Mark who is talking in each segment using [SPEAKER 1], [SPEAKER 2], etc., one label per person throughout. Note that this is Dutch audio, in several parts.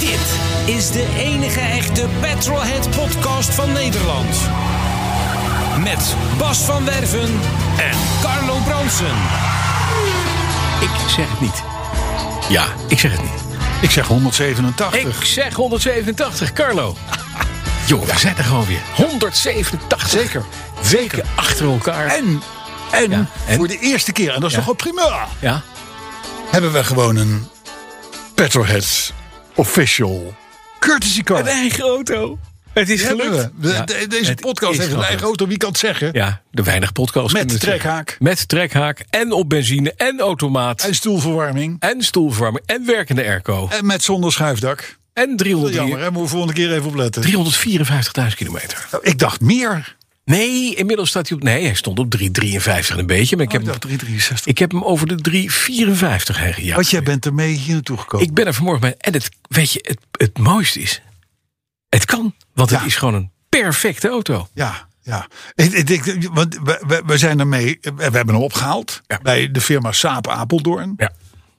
[SPEAKER 1] Dit is de enige echte Petrolhead podcast van Nederland. Met Bas van Werven en Carlo Bronsen.
[SPEAKER 2] Ik zeg het niet.
[SPEAKER 3] Ja,
[SPEAKER 2] Ik zeg het niet.
[SPEAKER 3] ik zeg 187.
[SPEAKER 2] Ik zeg 187, Carlo.
[SPEAKER 3] joh, we zijn er gewoon weer.
[SPEAKER 2] 187.
[SPEAKER 3] Zeker.
[SPEAKER 2] Weken achter elkaar.
[SPEAKER 3] En, en,
[SPEAKER 2] Ja, en?
[SPEAKER 3] voor de eerste keer, en dat is
[SPEAKER 2] Ja.
[SPEAKER 3] toch wel prima,
[SPEAKER 2] Ja,
[SPEAKER 3] hebben we gewoon een Petroheads official courtesy car.
[SPEAKER 2] een eigen auto. Het is
[SPEAKER 3] Hebben
[SPEAKER 2] gelukt.
[SPEAKER 3] we. De-
[SPEAKER 2] Ja,
[SPEAKER 3] de- deze
[SPEAKER 2] het
[SPEAKER 3] podcast
[SPEAKER 2] is
[SPEAKER 3] heeft een
[SPEAKER 2] gelukt.
[SPEAKER 3] eigen auto, wie kan het zeggen?
[SPEAKER 2] Ja, de weinig podcast.
[SPEAKER 3] Met trekhaak.
[SPEAKER 2] Met trekhaak en op benzine en automaat. En,
[SPEAKER 3] En stoelverwarming.
[SPEAKER 2] stoelverwarming en werkende airco.
[SPEAKER 3] En met zonder schuifdak.
[SPEAKER 2] En
[SPEAKER 3] Wel Jammer,
[SPEAKER 2] 300
[SPEAKER 3] hè? Moeten we volgende keer even opletten.
[SPEAKER 2] 354.000 kilometer.
[SPEAKER 3] Nou, Ik dacht meer.
[SPEAKER 2] Nee, inmiddels staat hij op... Nee, hij stond op 353 een beetje. Maar ik,
[SPEAKER 3] Oh, Ik
[SPEAKER 2] heb,
[SPEAKER 3] dacht
[SPEAKER 2] hem,
[SPEAKER 3] 363.
[SPEAKER 2] ik heb hem over de 354 heen gejaagd.
[SPEAKER 3] Want jij bent ermee hier naartoe gekomen.
[SPEAKER 2] Ik ben er vanmorgen bij. En het, weet je, het, het mooiste is. Het kan. Want
[SPEAKER 3] Ja.
[SPEAKER 2] het is gewoon een perfecte auto.
[SPEAKER 3] Ja, ja. Ik, ik, ik- want we, we- we zijn ermee, we we hebben hem opgehaald
[SPEAKER 2] Ja.
[SPEAKER 3] bij de firma Saab Apeldoorn.
[SPEAKER 2] Ja.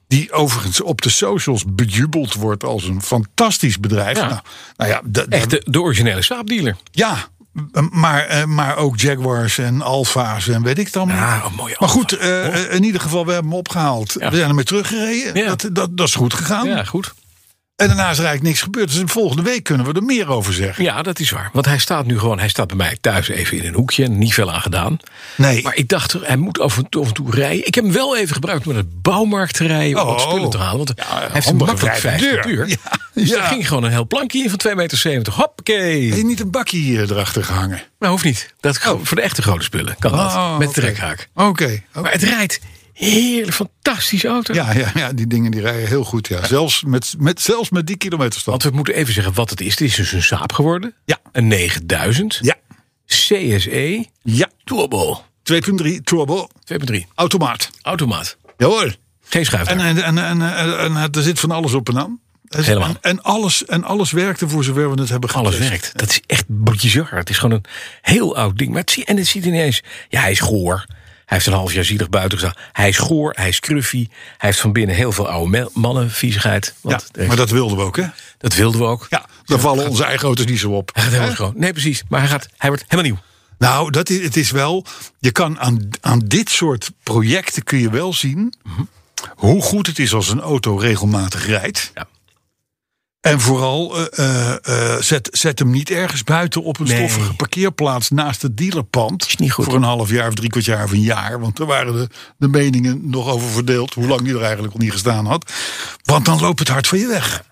[SPEAKER 3] Die overigens op de socials bejubeld wordt als een fantastisch bedrijf.
[SPEAKER 2] Ja.
[SPEAKER 3] Nou, nou ja, da- da-
[SPEAKER 2] Echt de, de originele slaapdealer.
[SPEAKER 3] ja m- maar, eh, maar ook Jaguars en Alfa's en weet ik het allemaal.
[SPEAKER 2] Ja,
[SPEAKER 3] niet.
[SPEAKER 2] een mooie
[SPEAKER 3] maar
[SPEAKER 2] Alfa,
[SPEAKER 3] goed, eh, eh, in ieder geval, we hebben hem opgehaald.
[SPEAKER 2] Ja.
[SPEAKER 3] We zijn ermee teruggereden.
[SPEAKER 2] Ja.
[SPEAKER 3] Dat, dat, dat is goed gegaan.
[SPEAKER 2] Ja, goed.
[SPEAKER 3] En daarna is er eigenlijk niks gebeurd. Dus volgende week kunnen we er meer over zeggen.
[SPEAKER 2] Ja, dat is waar. Want hij staat nu gewoon. Hij staat bij mij thuis even in een hoekje. Niet veel aan gedaan.
[SPEAKER 3] Nee,
[SPEAKER 2] Maar ik dacht, hij moet af en toe, af en toe rijden. Ik heb hem wel even gebruikt om naar de bouwmarkt te rijden. Om
[SPEAKER 3] Oh.
[SPEAKER 2] wat spullen te halen. Want hij heeft een
[SPEAKER 3] handig,
[SPEAKER 2] makkelijk
[SPEAKER 3] vrij de
[SPEAKER 2] 50
[SPEAKER 3] deur.
[SPEAKER 2] uur.
[SPEAKER 3] Ja,
[SPEAKER 2] Dus
[SPEAKER 3] ja.
[SPEAKER 2] daar ging gewoon een heel plankje in van 2,70 meter. Hoppakee.
[SPEAKER 3] Heb je niet een bakje hier erachter gehangen?
[SPEAKER 2] Maar hoeft niet. Dat is Voor de echte grote spullen kan
[SPEAKER 3] Oh,
[SPEAKER 2] dat. Met
[SPEAKER 3] oké.
[SPEAKER 2] trekhaak.
[SPEAKER 3] Oké. Oh.
[SPEAKER 2] Maar het rijdt heerlijk, fantastische auto.
[SPEAKER 3] Ja, ja, ja, die dingen die rijden heel goed. Ja. Zelfs, met, met, zelfs met die
[SPEAKER 2] Want
[SPEAKER 3] kilometerstand.
[SPEAKER 2] we moeten even zeggen wat het is. Het is dus een Saab geworden.
[SPEAKER 3] Ja.
[SPEAKER 2] Een 9000.
[SPEAKER 3] Ja,
[SPEAKER 2] CSE.
[SPEAKER 3] ja.
[SPEAKER 2] Turbo.
[SPEAKER 3] 2.3 turbo
[SPEAKER 2] 2.3.
[SPEAKER 3] automaat.
[SPEAKER 2] Automaat.
[SPEAKER 3] Jawel.
[SPEAKER 2] Geen schuifdeur.
[SPEAKER 3] En, en, en, en, en, en er zit van alles op en aan. Er zit-
[SPEAKER 2] Helemaal.
[SPEAKER 3] En, en alles, en alles werkte voor zover we het hebben getest.
[SPEAKER 2] Alles werkt. Dat is echt bizar. Het is gewoon een heel oud ding. Maar het, zie- en het ziet ineens... Ja, hij is goor. Hij heeft een half jaar zielig buiten gestaan. Hij is goor, hij is cruffy. Hij heeft van binnen heel veel oude me- mannenviezigheid.
[SPEAKER 3] Ja,
[SPEAKER 2] Want er is-
[SPEAKER 3] maar dat wilden we ook, hè?
[SPEAKER 2] dat wilden we ook.
[SPEAKER 3] Ja, daar vallen onze eigen auto's niet zo op.
[SPEAKER 2] Hij gaat helemaal schoon. Nee, precies. Maar hij, gaat, hij wordt helemaal nieuw.
[SPEAKER 3] Nou, dat is, het is wel. Je kan aan, aan dit soort projecten kun je wel zien hoe goed het is als een auto regelmatig rijdt.
[SPEAKER 2] Ja.
[SPEAKER 3] En vooral eh, eh, eh, zet, zet hem niet ergens buiten op een
[SPEAKER 2] Nee.
[SPEAKER 3] stoffige parkeerplaats naast het dealerpand.
[SPEAKER 2] Is niet goed.
[SPEAKER 3] Voor een half jaar of drie kwart jaar of een jaar. Want daar waren de, de meningen nog over verdeeld. Hoe lang die er eigenlijk al niet gestaan had. Want dan loopt het hart van je weg.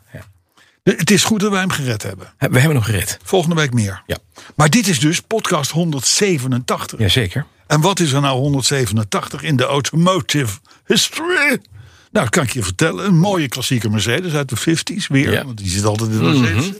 [SPEAKER 3] Het is goed dat wij hem gered hebben.
[SPEAKER 2] We hebben hem gered.
[SPEAKER 3] Volgende week meer.
[SPEAKER 2] Ja.
[SPEAKER 3] Maar dit is dus podcast 187.
[SPEAKER 2] Jazeker.
[SPEAKER 3] En wat is er nou 187 in de automotive history? Nou, dat kan ik je vertellen. Een mooie klassieke Mercedes uit de 50s weer.
[SPEAKER 2] Ja. Mhm.
[SPEAKER 3] Want die zit altijd in de Mercedes.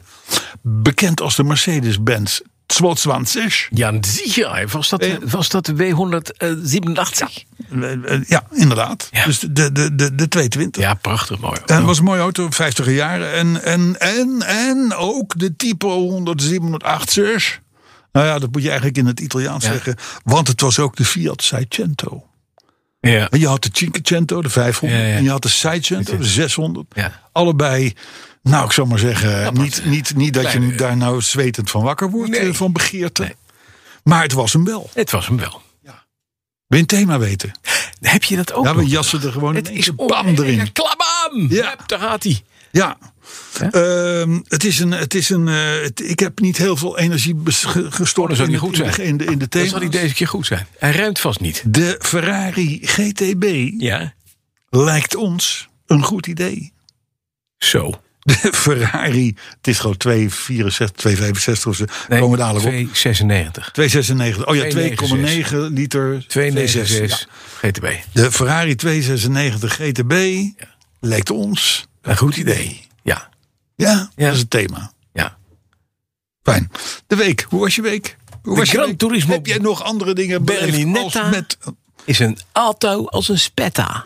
[SPEAKER 3] Bekend als de Mercedes-Benz 22.
[SPEAKER 2] Ja, sicher. Was dat, de- was dat de W187?
[SPEAKER 3] Eh, eh, Ja, inderdaad.
[SPEAKER 2] Ja.
[SPEAKER 3] Dus de, de, de, de 220.
[SPEAKER 2] Ja, prachtig mooi.
[SPEAKER 3] En het was een mooie auto, 50 jaar. En, en, en, en ook de Tipo 187. Nou ja, dat moet je eigenlijk in het Italiaans
[SPEAKER 2] Ja.
[SPEAKER 3] zeggen. Want het was ook de Fiat Seicento.
[SPEAKER 2] Ja.
[SPEAKER 3] En je had de Cinquecento, de 500.
[SPEAKER 2] Ja, ja.
[SPEAKER 3] En je had de Seicento, de 600.
[SPEAKER 2] Ja.
[SPEAKER 3] Allebei, nou ik zou maar zeggen, niet, niet, niet dat je
[SPEAKER 2] Kleine-
[SPEAKER 3] daar nou zwetend van wakker wordt
[SPEAKER 2] Nee.
[SPEAKER 3] eh, van begeerte.
[SPEAKER 2] Nee.
[SPEAKER 3] Maar het was hem wel.
[SPEAKER 2] Het was hem wel.
[SPEAKER 3] Wil je een thema weten?
[SPEAKER 2] Heb je dat ook?
[SPEAKER 3] Ja, we
[SPEAKER 2] nog?
[SPEAKER 3] jassen er gewoon
[SPEAKER 2] Het
[SPEAKER 3] in
[SPEAKER 2] is
[SPEAKER 3] één keer bam erin.
[SPEAKER 2] Klabam!
[SPEAKER 3] Ja.
[SPEAKER 2] Hup, daar gaat hij.
[SPEAKER 3] Ja.
[SPEAKER 2] Hè?
[SPEAKER 3] Ehm, het is een, het is een eh, het- ik heb niet heel veel energie bes- ge-
[SPEAKER 2] Oh,
[SPEAKER 3] gestort
[SPEAKER 2] dat zou
[SPEAKER 3] in,
[SPEAKER 2] niet
[SPEAKER 3] het-
[SPEAKER 2] goed
[SPEAKER 3] in de-
[SPEAKER 2] zijn.
[SPEAKER 3] in de, in de
[SPEAKER 2] Dan
[SPEAKER 3] thema's.
[SPEAKER 2] zal hij deze keer goed zijn. Hij ruimt vast niet.
[SPEAKER 3] De Ferrari GTB
[SPEAKER 2] Ja.
[SPEAKER 3] lijkt ons een goed idee.
[SPEAKER 2] Zo.
[SPEAKER 3] de Ferrari, het is gewoon 264, 265 of zo.
[SPEAKER 2] Nee,
[SPEAKER 3] komen we dadelijk op.
[SPEAKER 2] 296.
[SPEAKER 3] 296. Oh ja,
[SPEAKER 2] 2,96.
[SPEAKER 3] 2,9 liter.
[SPEAKER 2] 296 GTB.
[SPEAKER 3] De Ferrari 296 GTB lijkt ons een goed idee.
[SPEAKER 2] Ja,
[SPEAKER 3] Ja,
[SPEAKER 2] Ja.
[SPEAKER 3] dat is het thema.
[SPEAKER 2] ja.
[SPEAKER 3] Fijn. De week. Hoe was je week? Hoe
[SPEAKER 2] De
[SPEAKER 3] was je
[SPEAKER 2] Gran
[SPEAKER 3] week?
[SPEAKER 2] Turismo
[SPEAKER 3] Heb jij nog andere dingen beleefd als
[SPEAKER 2] Berlinetta.
[SPEAKER 3] met...
[SPEAKER 2] Is een auto als een spetta.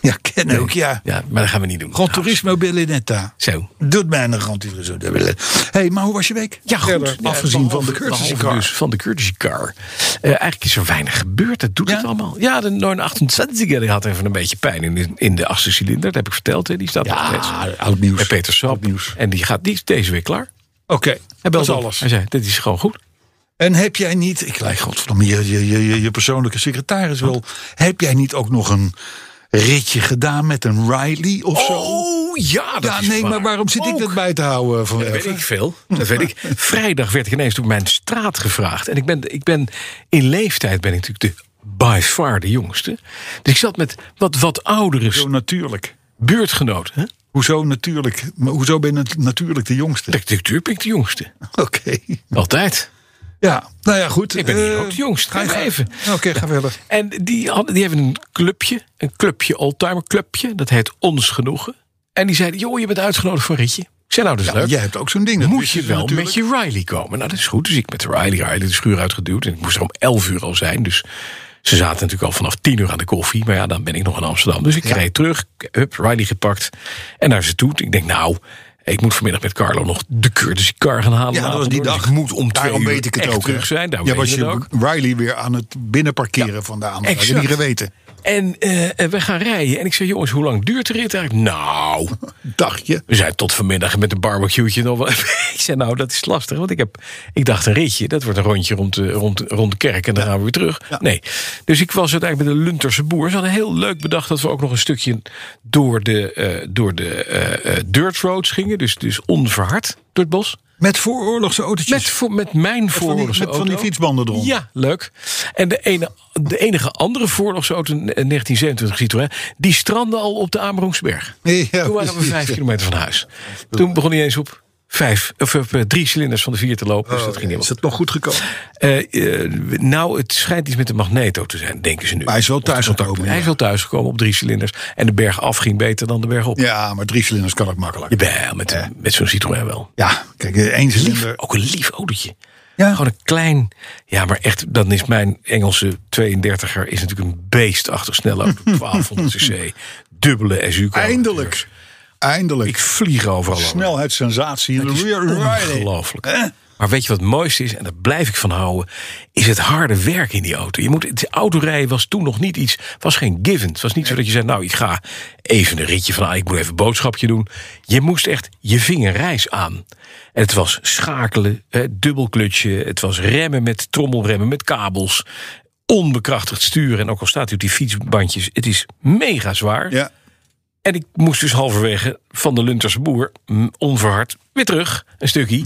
[SPEAKER 3] Ja, ken ook, ja.
[SPEAKER 2] Ja, maar dat gaan we niet doen.
[SPEAKER 3] Gran Turismo Berlinetta.
[SPEAKER 2] Zo.
[SPEAKER 3] Doet mij een Gran Turismo Berlinetta. hey, maar hoe was je week?
[SPEAKER 2] Ja, goed.
[SPEAKER 3] Verder,
[SPEAKER 2] Ja,
[SPEAKER 3] afgezien
[SPEAKER 2] behalve-
[SPEAKER 3] van de
[SPEAKER 2] behalve
[SPEAKER 3] courtesy car.
[SPEAKER 2] Dus van de courtesy car. Eh, eigenlijk is er weinig gebeurd. Dat doet
[SPEAKER 3] Ja?
[SPEAKER 2] het allemaal. Ja, de 928 die had even een beetje pijn in de, in de achtste cilinder. Dat heb ik verteld. Hè. Die staat nog steeds
[SPEAKER 3] Ja, oud
[SPEAKER 2] bij
[SPEAKER 3] nieuws. Oké,
[SPEAKER 2] Peter Sap. En die gaat die is deze weer klaar. Hij
[SPEAKER 3] dat
[SPEAKER 2] belde
[SPEAKER 3] is
[SPEAKER 2] op.
[SPEAKER 3] alles.
[SPEAKER 2] Hij zei, dit is gewoon goed.
[SPEAKER 3] En heb jij niet, ik lijk godverdomme je, je, je, je- je persoonlijke secretaris wel. Heb jij niet ook nog een ritje gedaan met een Riley of zo?
[SPEAKER 2] Oh, ja, dat
[SPEAKER 3] ja,
[SPEAKER 2] is
[SPEAKER 3] nee,
[SPEAKER 2] waar.
[SPEAKER 3] maar waarom zit ik
[SPEAKER 2] Ook.
[SPEAKER 3] dat bij te houden van
[SPEAKER 2] Dat weet
[SPEAKER 3] Werven?
[SPEAKER 2] ik veel. Dat weet ik. Vrijdag werd ik ineens door mijn straat gevraagd. En ik ben, ik ben in leeftijd ben ik natuurlijk de by far de jongste. Dus ik zat met wat, wat oudere
[SPEAKER 3] Zo natuurlijk.
[SPEAKER 2] buurtgenoten. Hè?
[SPEAKER 3] Hoezo natuurlijk? Maar hoezo ben je nat- natuurlijk de jongste?
[SPEAKER 2] Dat- Natuurlijk ben ik de jongste.
[SPEAKER 3] Oké.
[SPEAKER 2] Altijd.
[SPEAKER 3] Ja, nou ja, goed.
[SPEAKER 2] Ik ben hier
[SPEAKER 3] Eh,
[SPEAKER 2] ook de jongste.
[SPEAKER 3] Ga je
[SPEAKER 2] Ga even.
[SPEAKER 3] Oké, ga verder.
[SPEAKER 2] En die, hadden, die hebben een clubje, een clubje, oldtimer clubje. Dat heet Ons Genoegen. En die zeiden, joh, je bent uitgenodigd voor een ritje. Ik zei, nou, dat is leuk.
[SPEAKER 3] Jij hebt ook zo'n ding. dat
[SPEAKER 2] moet
[SPEAKER 3] wisten
[SPEAKER 2] je
[SPEAKER 3] ze
[SPEAKER 2] wel
[SPEAKER 3] natuurlijk.
[SPEAKER 2] met je Riley komen. Nou, dat is goed. Dus ik met de Riley, Riley de schuur uitgeduwd. En ik moest er om 11 uur al zijn. Dus ze zaten natuurlijk al vanaf 10 uur aan de koffie. Maar ja, dan ben ik nog in Amsterdam. Dus ik reed terug. Hup, Riley gepakt. En naar ze toe. Ik denk, nou, ik moet vanmiddag met Carlo nog de courtesy car gaan halen.
[SPEAKER 3] Ja, dat was die
[SPEAKER 2] Dus
[SPEAKER 3] dag.
[SPEAKER 2] ik moet om twee
[SPEAKER 3] Daarom
[SPEAKER 2] uur
[SPEAKER 3] weet ik het
[SPEAKER 2] echt
[SPEAKER 3] ook. hè.
[SPEAKER 2] terug zijn. Daarom
[SPEAKER 3] ja,
[SPEAKER 2] weet
[SPEAKER 3] was
[SPEAKER 2] je het
[SPEAKER 3] je
[SPEAKER 2] ook.
[SPEAKER 3] Riley weer aan het binnenparkeren vandaan. Dat heb je
[SPEAKER 2] exact.
[SPEAKER 3] niet geweten.
[SPEAKER 2] En eh, eh, we gaan rijden. En ik zei, jongens, hoe lang duurt de rit eigenlijk? Nou,
[SPEAKER 3] Dacht je?
[SPEAKER 2] we zijn tot vanmiddag met een barbecueetje nog wel. even- ik zei, nou, dat is lastig. Want ik, heb, ik dacht, een ritje, dat wordt een rondje rond de, rond, rond de kerk. En dan gaan we weer terug. Nee. Dus ik was uiteindelijk bij de Lunterse boer. Ze hadden heel leuk bedacht dat we ook nog een stukje door de, eh, door de eh, eh, dirt roads gingen. Dus, dus onverhard door het bos.
[SPEAKER 3] Met vooroorlogse autootjes.
[SPEAKER 2] Met, voor, met mijn
[SPEAKER 3] van die,
[SPEAKER 2] vooroorlogse
[SPEAKER 3] met van
[SPEAKER 2] auto.
[SPEAKER 3] die fietsbanden eronder.
[SPEAKER 2] Ja, leuk. En de, ene, de enige andere voorlogsauto, een 1927 Citroën, die strandde al op de Amerungsberg.
[SPEAKER 3] Ja,
[SPEAKER 2] Toen waren we
[SPEAKER 3] precies.
[SPEAKER 2] vijf kilometer van huis. Toen begon hij eens op vijf, of op, eh, drie cilinders van de vier te lopen. Dus dat ging
[SPEAKER 3] Oh,
[SPEAKER 2] helemaal.
[SPEAKER 3] Is het nog goed gekomen?
[SPEAKER 2] Eh, eh, nou, het schijnt iets met de magneto te zijn, denken ze nu.
[SPEAKER 3] Maar hij is wel
[SPEAKER 2] Of de
[SPEAKER 3] thuisgekomen,
[SPEAKER 2] contacten.
[SPEAKER 3] ja.
[SPEAKER 2] Hij is wel thuisgekomen op drie cilinders. En de berg af ging beter dan de berg op.
[SPEAKER 3] Ja, maar drie cilinders kan ook makkelijk.
[SPEAKER 2] Jawel, met, met zo'n Citroën wel.
[SPEAKER 3] Ja, Oh, kijk,
[SPEAKER 2] eh,
[SPEAKER 3] één
[SPEAKER 2] Lief,
[SPEAKER 3] cilinder.
[SPEAKER 2] ook een lief autootje.
[SPEAKER 3] Ja.
[SPEAKER 2] Gewoon een klein. Ja, maar echt, dan is mijn Engelse 32er is natuurlijk een beestachtig snelle auto. 1200 cc, dubbele SU.
[SPEAKER 3] Eindelijk. Eindelijk.
[SPEAKER 2] Ik vlieg overal over.
[SPEAKER 3] Snelheidssensatie in de
[SPEAKER 2] Het is
[SPEAKER 3] rear Riley.
[SPEAKER 2] ongelooflijk. Maar weet je wat het mooiste is, en daar blijf ik van houden, is het harde werk in die auto. Je moet, het autorijden was toen nog niet iets, was geen given. Het was niet zo dat je zei, nou ik ga even een ritje van, ah, ik moet even een boodschapje doen. Je moest echt, je ving een reis aan. En het was schakelen, eh, dubbelklutje, het was remmen met trommelremmen, met kabels. Onbekrachtigd sturen, en ook al staat hij op die fietsbandjes, het is mega zwaar.
[SPEAKER 3] Ja.
[SPEAKER 2] En ik moest dus halverwege van de Lunterse boer, mm, onverhard, weer terug, een stukje.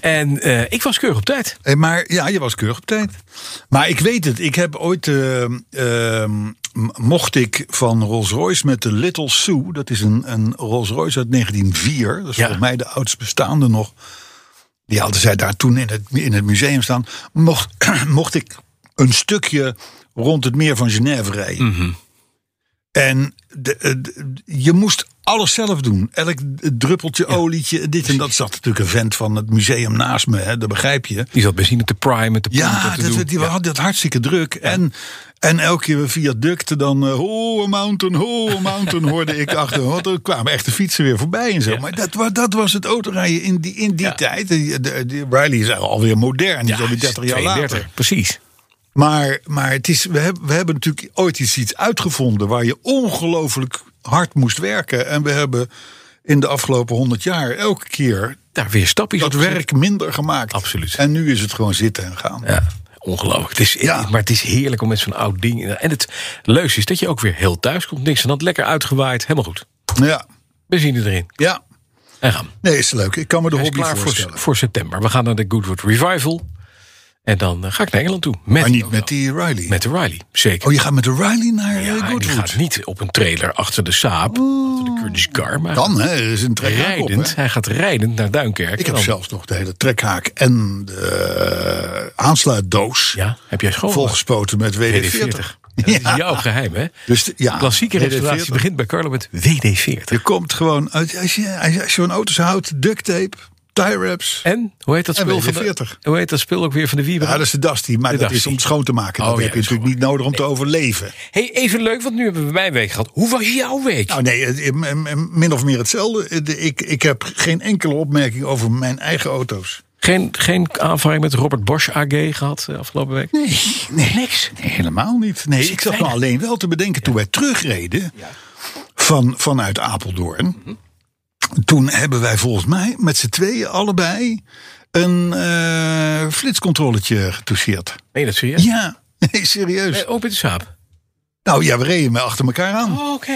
[SPEAKER 2] en eh, ik was keurig op tijd.
[SPEAKER 3] Hey, Eh, maar ja, je was keurig op tijd. Maar ik weet het. Ik heb ooit. ehm, ehm, m- mocht ik van Rolls Royce met de Little Sue. Dat is een, een Rolls Royce uit 1904. Dat is
[SPEAKER 2] Ja.
[SPEAKER 3] volgens mij de oudst bestaande nog. Die hadden zij daar toen in het, in het museum staan. Mocht, mocht ik een stukje rond het meer van Genève rijden. En de, eh, de- je moest alles zelf doen. Elk druppeltje olietje, dit en dat. Zat natuurlijk een vent van het museum naast me, hè, dat begrijp je.
[SPEAKER 2] Die zat benzine te primen, te pompen,
[SPEAKER 3] Ja,
[SPEAKER 2] te
[SPEAKER 3] dat,
[SPEAKER 2] doen.
[SPEAKER 3] die hadden dat hartstikke druk. En, en elke keer weer viaducten dan... eh, oh, a mountain, oh, a mountain hoorde ik achter. Want er kwamen echt de fietsen weer voorbij en zo. Maar dat, wa- dat was het autorijden in die, in die
[SPEAKER 2] Ja.
[SPEAKER 3] tijd. Die- de- die Riley is alweer modern, die is alweer 30 jaar
[SPEAKER 2] 32,
[SPEAKER 3] later.
[SPEAKER 2] Precies.
[SPEAKER 3] Maar, maar het is, we, hebben, we hebben natuurlijk ooit iets, iets uitgevonden... waar je ongelooflijk hard moest werken. En we hebben in de afgelopen 100 jaar elke keer...
[SPEAKER 2] Daar weer stapjes
[SPEAKER 3] dat
[SPEAKER 2] op gezet.
[SPEAKER 3] werk minder gemaakt.
[SPEAKER 2] Absoluut.
[SPEAKER 3] En nu is het gewoon zitten en gaan.
[SPEAKER 2] Ja, ongelooflijk. Het is,
[SPEAKER 3] Ja.
[SPEAKER 2] Maar het is heerlijk om met zo'n oud ding... En het leukste is dat je ook weer heel thuis komt. Niks aan dat lekker uitgewaaid. Helemaal goed.
[SPEAKER 3] Ja,
[SPEAKER 2] Benzine erin.
[SPEAKER 3] ja.
[SPEAKER 2] En gaan.
[SPEAKER 3] Nee, is leuk. Ik kan me de
[SPEAKER 2] Hij is
[SPEAKER 3] hobby
[SPEAKER 2] klaar voor,
[SPEAKER 3] voorstellen.
[SPEAKER 2] voor september. We gaan naar de Goodwood Revival. En dan eh, ga ik naar Engeland toe. Met
[SPEAKER 3] Maar niet
[SPEAKER 2] ook
[SPEAKER 3] met
[SPEAKER 2] wel.
[SPEAKER 3] die Riley.
[SPEAKER 2] Met de Riley, zeker.
[SPEAKER 3] Oh, je gaat met de Riley naar eh,
[SPEAKER 2] ja, Ah, en die
[SPEAKER 3] Goodwood.
[SPEAKER 2] gaat niet op een trailer achter de Saab, achter de Kurdish Car, maar
[SPEAKER 3] Dan, hè, is een trekhaak op, hè.
[SPEAKER 2] rijdend. hij gaat rijdend naar Duinkerk.
[SPEAKER 3] Ik
[SPEAKER 2] En
[SPEAKER 3] heb
[SPEAKER 2] dan-
[SPEAKER 3] zelfs nog de hele trekhaak en de eh, aansluitdoos
[SPEAKER 2] Ja, oh, heb jij school?
[SPEAKER 3] volgespoten met WD-40.
[SPEAKER 2] WD-40. Dat is jouw geheim, hè?
[SPEAKER 3] Dus de- ja,
[SPEAKER 2] Klassieke restauratie
[SPEAKER 3] WD-40.
[SPEAKER 2] begint bij Carlo met WD-40.
[SPEAKER 3] Je komt gewoon uit, als je, als je, als je van auto's houdt, duct tape, tie wraps.
[SPEAKER 2] En, hoe heet dat
[SPEAKER 3] En
[SPEAKER 2] spul? van de,
[SPEAKER 3] WD-40.
[SPEAKER 2] hoe heet dat spul ook weer van de Wieber?
[SPEAKER 3] Ja, dat is de Dusty, maar
[SPEAKER 2] De
[SPEAKER 3] dat is
[SPEAKER 2] Dusty.
[SPEAKER 3] om schoon te maken. Dat
[SPEAKER 2] Oh, ja,
[SPEAKER 3] heb je
[SPEAKER 2] dat is
[SPEAKER 3] natuurlijk niet nodig om te overleven.
[SPEAKER 2] hey, even leuk, want nu hebben we mijn week gehad. Hoe was jouw week?
[SPEAKER 3] Nou nee, het- m- m- min of meer hetzelfde. Eh, de- Ik, ik heb geen enkele opmerking over mijn eigen auto's.
[SPEAKER 2] Geen, geen aanvaring met Robert Bosch AG gehad eh, afgelopen week?
[SPEAKER 3] Nee, nee. niks. helemaal niet. Nee, ik zat me
[SPEAKER 2] weinig.
[SPEAKER 3] alleen wel te bedenken toen wij terugreden van, vanuit Apeldoorn. Toen hebben wij volgens mij met z'n tweeën allebei een eh flitscontroletje getoucheerd.
[SPEAKER 2] Nee, dat zie je.
[SPEAKER 3] Ja, nee, serieus.
[SPEAKER 2] Nee, ook met de Saab.
[SPEAKER 3] Nou ja, we reden me achter elkaar aan.
[SPEAKER 2] Oké.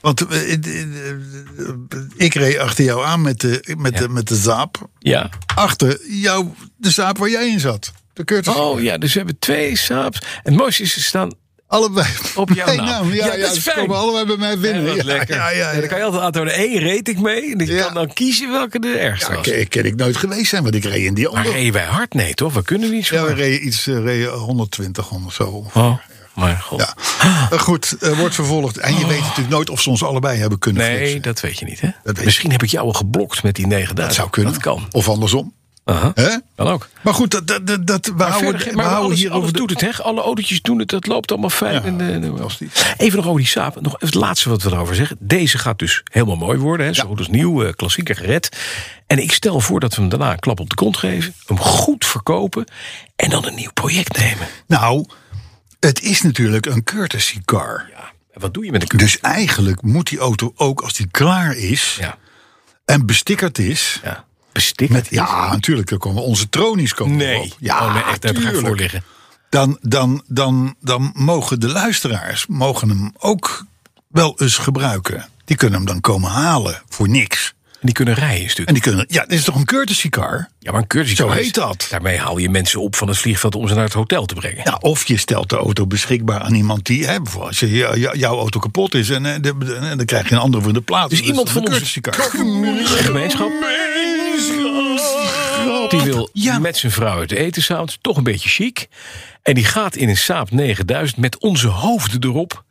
[SPEAKER 3] Want eh, eh, eh, eh, ik reed achter jou aan met de, met de, met de zaap.
[SPEAKER 2] Ja.
[SPEAKER 3] Achter jou, de zaap waar jij in zat. De Curtis.
[SPEAKER 2] Oh ja, dus we hebben twee Saabs. En het mooiste is, ze staan
[SPEAKER 3] Allebei.
[SPEAKER 2] Op jouw
[SPEAKER 3] Mijn
[SPEAKER 2] naam.
[SPEAKER 3] Ja,
[SPEAKER 2] Ja,
[SPEAKER 3] ja,
[SPEAKER 2] dat is
[SPEAKER 3] ze
[SPEAKER 2] fijn.
[SPEAKER 3] komen allebei bij mij
[SPEAKER 2] Ja,
[SPEAKER 3] binnen.
[SPEAKER 2] wat lekker.
[SPEAKER 3] Ja, ja, ja.
[SPEAKER 2] Dan kan je altijd aantonen, één reed ik mee. En ik
[SPEAKER 3] Ja.
[SPEAKER 2] kan dan kiezen welke de ergste
[SPEAKER 3] Ja,
[SPEAKER 2] was.
[SPEAKER 3] ken, ken ik nooit geweest zijn, want ik reed in die
[SPEAKER 2] Maar
[SPEAKER 3] andere.
[SPEAKER 2] reden wij hard? Nee, toch? We kunnen niet zo
[SPEAKER 3] Ja, we
[SPEAKER 2] hard.
[SPEAKER 3] reden iets, eh, reden 120 of zo.
[SPEAKER 2] Oh, maar god.
[SPEAKER 3] Ja. Eh, Goed, eh, wordt vervolgd. En je weet natuurlijk nooit of ze ons allebei hebben kunnen
[SPEAKER 2] Nee,
[SPEAKER 3] flitsen.
[SPEAKER 2] dat weet je niet, hè?
[SPEAKER 3] weet ik.
[SPEAKER 2] Misschien heb ik jou al geblokt met die 9000.
[SPEAKER 3] Dat zou kunnen.
[SPEAKER 2] Dat kan.
[SPEAKER 3] Of andersom.
[SPEAKER 2] Aha.
[SPEAKER 3] Hè?
[SPEAKER 2] Kan ook.
[SPEAKER 3] Maar goed, dat, dat, dat, dat- we
[SPEAKER 2] Maar,
[SPEAKER 3] houden,
[SPEAKER 2] verder,
[SPEAKER 3] we
[SPEAKER 2] maar
[SPEAKER 3] houden
[SPEAKER 2] alles,
[SPEAKER 3] hier
[SPEAKER 2] alles
[SPEAKER 3] over de...
[SPEAKER 2] doet het, hè? Alle autootjes doen het. Dat loopt allemaal fijn.
[SPEAKER 3] Ja,
[SPEAKER 2] en, eh,
[SPEAKER 3] fantastisch.
[SPEAKER 2] even nog over die Saab. Nog het laatste wat we erover zeggen. Deze gaat dus helemaal mooi worden. Hè? Zo goed als nieuw, eh, klassieker gered. En ik stel voor dat we hem daarna een klap op de kont geven. Hem goed verkopen. En dan een nieuw project nemen.
[SPEAKER 3] Nou, het is natuurlijk een courtesy car.
[SPEAKER 2] Ja. En wat doe je met een
[SPEAKER 3] Dus eigenlijk moet die auto ook als die klaar is
[SPEAKER 2] Ja.
[SPEAKER 3] en bestickerd is...
[SPEAKER 2] ja. Bestik.
[SPEAKER 3] Met, ja, natuurlijk, er komen onze tronies komen
[SPEAKER 2] Nee.
[SPEAKER 3] erop. Ja,
[SPEAKER 2] oh, nee, echt, daar heb ik
[SPEAKER 3] tuurlijk.
[SPEAKER 2] graag voor liggen.
[SPEAKER 3] Dan, dan, dan, dan mogen de luisteraars mogen hem ook wel eens gebruiken. Die kunnen hem dan komen halen voor niks.
[SPEAKER 2] En die kunnen rijden een stuk.
[SPEAKER 3] En die kunnen, ja, dit is toch een courtesy car?
[SPEAKER 2] Ja, maar een courtesy
[SPEAKER 3] Zo
[SPEAKER 2] car is-
[SPEAKER 3] heet dat.
[SPEAKER 2] Daarmee haal je mensen op van het vliegveld om ze naar het hotel te brengen.
[SPEAKER 3] Ja, of je stelt de auto beschikbaar aan iemand die, hè, bijvoorbeeld als je, ja, ja, jouw auto kapot is en, eh, de- de- en dan krijg je een andere voor de plaats.
[SPEAKER 2] Dus
[SPEAKER 3] Dat
[SPEAKER 2] iemand
[SPEAKER 3] is
[SPEAKER 2] van
[SPEAKER 3] dan een
[SPEAKER 2] onze
[SPEAKER 3] courtesy car.
[SPEAKER 2] gemeenschap. Die wil
[SPEAKER 3] Ja.
[SPEAKER 2] met zijn vrouw uit de eten sound. Toch een beetje chic. En die gaat in een Saab 9000 met onze hoofden erop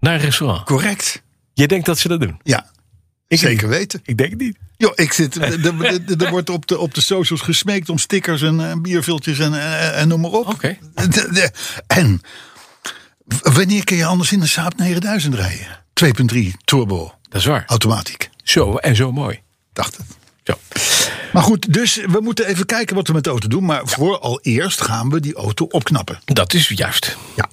[SPEAKER 2] naar een restaurant.
[SPEAKER 3] Correct.
[SPEAKER 2] Jij denkt dat ze dat doen?
[SPEAKER 3] Ja, zeker weten.
[SPEAKER 2] Ik denk het niet.
[SPEAKER 3] Jo, ik zit, er- er- er- er wordt op de, op de socials gesmeekt om stickers en, eh, bierviltjes en, en, en noem maar op.
[SPEAKER 2] Oké.
[SPEAKER 3] De- de- En w- wanneer kun je anders in de Saab 9000 rijden? 2.3 turbo,
[SPEAKER 2] Dat is waar.
[SPEAKER 3] automatiek.
[SPEAKER 2] Zo en zo mooi.
[SPEAKER 3] Dacht het.
[SPEAKER 2] Zo.
[SPEAKER 3] Maar goed, dus we moeten even kijken wat we met de auto doen. Maar vooraleerst gaan we die auto opknappen.
[SPEAKER 2] Dat is juist.
[SPEAKER 3] Ja.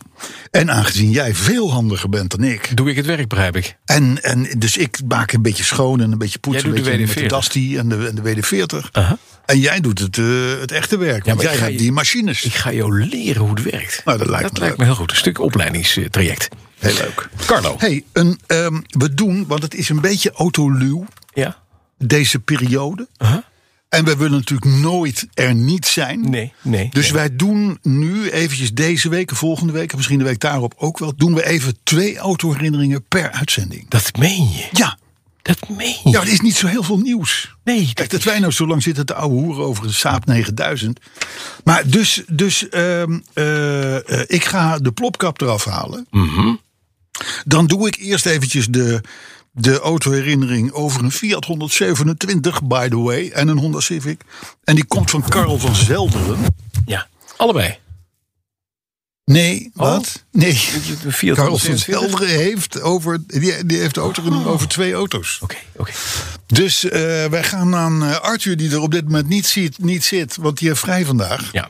[SPEAKER 3] En aangezien jij veel handiger bent dan ik.
[SPEAKER 2] Doe ik het werk, begrijp ik.
[SPEAKER 3] En, en dus ik maak een beetje schoon en een beetje poetsen.
[SPEAKER 2] Jij doet de
[SPEAKER 3] een beetje met de
[SPEAKER 2] WD-40.
[SPEAKER 3] Dusty en de, en de WD-40.
[SPEAKER 2] Aha.
[SPEAKER 3] En jij doet het, eh, het echte werk. want
[SPEAKER 2] maar
[SPEAKER 3] jij
[SPEAKER 2] ik ga
[SPEAKER 3] hebt
[SPEAKER 2] je-
[SPEAKER 3] die machines.
[SPEAKER 2] Ik ga jou leren hoe het werkt.
[SPEAKER 3] Nou, dat lijkt me leuk.
[SPEAKER 2] heel goed. Een stuk opleidingstraject.
[SPEAKER 3] Heel leuk.
[SPEAKER 2] Carlo.
[SPEAKER 3] Hey, een, ehm, we doen, want het is een beetje autoluw,
[SPEAKER 2] Ja?
[SPEAKER 3] deze periode. En we willen natuurlijk nooit er niet zijn.
[SPEAKER 2] Nee, nee.
[SPEAKER 3] Dus wij doen nu eventjes deze week, en volgende week, en misschien de week daarop ook wel, doen we even twee autoherinneringen per uitzending.
[SPEAKER 2] Dat meen je.
[SPEAKER 3] Ja,
[SPEAKER 2] Dat meen je.
[SPEAKER 3] ja, er is niet zo heel veel nieuws.
[SPEAKER 2] Nee,
[SPEAKER 3] Kijk, dat wij nou zo lang zitten te ouwe hoeren over de Saab 9000. Maar dus, dus ehm, eh, eh, ik ga de plopkap eraf halen. Dan doe ik eerst eventjes de, de autoherinnering over een Fiat 127, by the way. En een Honda Civic. En die komt van Karel van Zelderen.
[SPEAKER 2] Ja, allebei.
[SPEAKER 3] Nee, wat? Nee.
[SPEAKER 2] De Fiat
[SPEAKER 3] Karel van
[SPEAKER 2] 127. Oké,
[SPEAKER 3] Zelderen heeft, over, die, die heeft de autoherinnering over twee auto's.
[SPEAKER 2] oké.
[SPEAKER 3] Dus eh, wij gaan aan eh, Arthur, die er op dit moment niet, ziet, niet zit, want die heeft vrij vandaag.
[SPEAKER 2] Ja.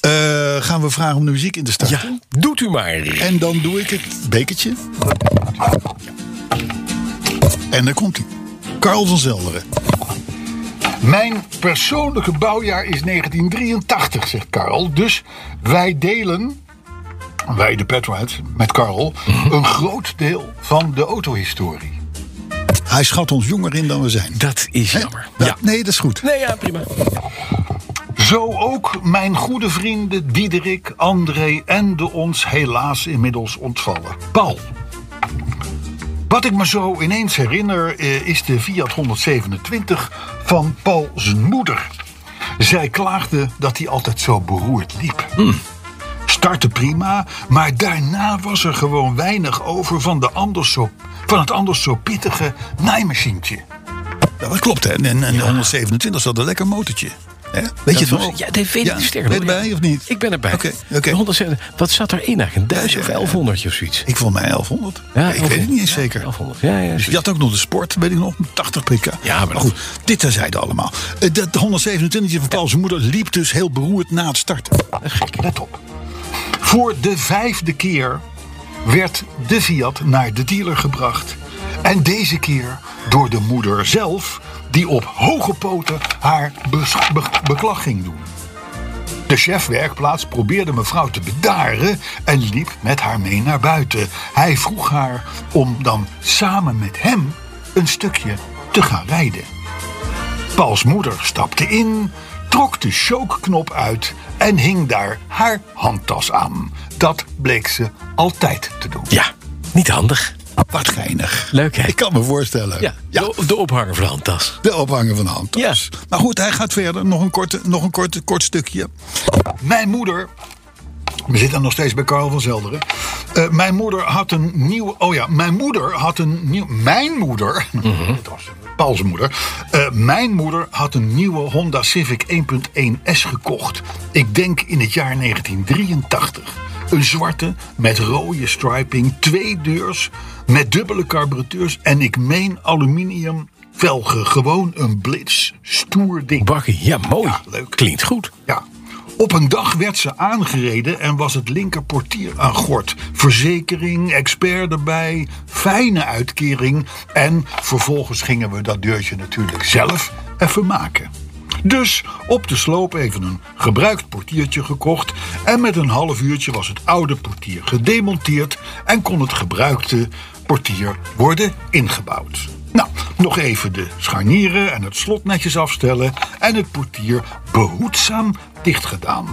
[SPEAKER 3] eh, gaan we vragen om de muziek in te starten.
[SPEAKER 2] ja, doet u maar.
[SPEAKER 3] En dan doe ik het bekertje. En daar komt hij. Karl van Zelderen. Mijn persoonlijke bouwjaar is 1983, zegt Karl. Dus wij delen, wij de Petroheads, met Karl... een groot deel van de autohistorie. Hij schat ons jonger in dan we zijn.
[SPEAKER 2] Dat is
[SPEAKER 3] Hè?
[SPEAKER 2] jammer.
[SPEAKER 3] Dat-
[SPEAKER 2] Ja.
[SPEAKER 3] Nee, dat is goed.
[SPEAKER 2] Nee, ja, prima.
[SPEAKER 3] Zo Zo ook mijn goede vrienden Diederik, André en de ons helaas inmiddels ontvallen Paul. Wat ik me zo ineens herinner eh, is de Fiat 127 van Paul zijn moeder. Zij klaagde dat hij altijd zo beroerd liep. Startte prima, maar daarna was er gewoon weinig over van, de anders zo, van het anders zo pittige naaimachientje. Ja, dat klopt, hè? En, en de 127 zat een lekker motortje. Hè? Weet je het
[SPEAKER 2] was-
[SPEAKER 3] nog?
[SPEAKER 2] Ja, dat weet ik sterker
[SPEAKER 3] Ben je
[SPEAKER 2] nog.
[SPEAKER 3] erbij of niet?
[SPEAKER 2] Ik ben erbij.
[SPEAKER 3] Oké, oké.
[SPEAKER 2] 170 wat zat er in eigenlijk? Een duizend
[SPEAKER 3] Ja, ja, ja.
[SPEAKER 2] of 1100 of zoiets?
[SPEAKER 3] Ik vond mij 1100.
[SPEAKER 2] Ja,
[SPEAKER 3] ik weet het niet eens
[SPEAKER 2] ja,
[SPEAKER 3] zeker.
[SPEAKER 2] 1100. Ja, ja,
[SPEAKER 3] Dus je had ook nog de sport, weet ik nog, met 80 pk.
[SPEAKER 2] Ja, maar dat-
[SPEAKER 3] goed, dit terzijde allemaal. Eh, Dat 127 van Paul zijn moeder liep dus heel beroerd na het starten. Let op. Voor de vijfde keer werd de Fiat naar de dealer gebracht. En deze keer door de moeder zelf, die op hoge poten haar bes- be- beklag ging doen. De chef werkplaats probeerde mevrouw te bedaren en liep met haar mee naar buiten. Hij vroeg haar om dan samen met hem een stukje te gaan rijden. Pauls moeder stapte in, trok de chokeknop uit en hing daar haar handtas aan. Dat bleek ze altijd te doen.
[SPEAKER 2] Ja, niet handig.
[SPEAKER 3] Wat geinig.
[SPEAKER 2] Leuk, hè?
[SPEAKER 3] Ik kan me voorstellen.
[SPEAKER 2] Ja, De, de ophanger van de handtas.
[SPEAKER 3] De ophangen van de handtas. Maar goed, hij gaat verder. Nog een, korte, nog een korte, kort stukje. Mijn moeder... We zitten nog steeds bij Karel van Zelderen. Eh, mijn moeder had een nieuw... Oh ja, mijn moeder had een nieuw... Mijn moeder... Dat was Paul's moeder. eh, mijn moeder had een nieuwe Honda Civic 1.1S gekocht. Ik denk in het jaar 1983. Een zwarte met rode striping, twee deurs met dubbele carburateurs en ik meen aluminium velgen. Gewoon een blitz, stoer ding.
[SPEAKER 2] Bakkie, ja, mooi.
[SPEAKER 3] Ja, leuk.
[SPEAKER 2] Klinkt goed.
[SPEAKER 3] Ja. Op een dag werd ze aangereden en was het linkerportier aan gort. Verzekering, expert erbij, fijne uitkering. En vervolgens gingen we dat deurtje natuurlijk zelf even maken. Dus op de sloop even een gebruikt portiertje gekocht. En met een half uurtje was het oude portier gedemonteerd. En kon het gebruikte portier worden ingebouwd. Nou, nog even de scharnieren en het slot netjes afstellen en het portier behoedzaam dichtgedaan.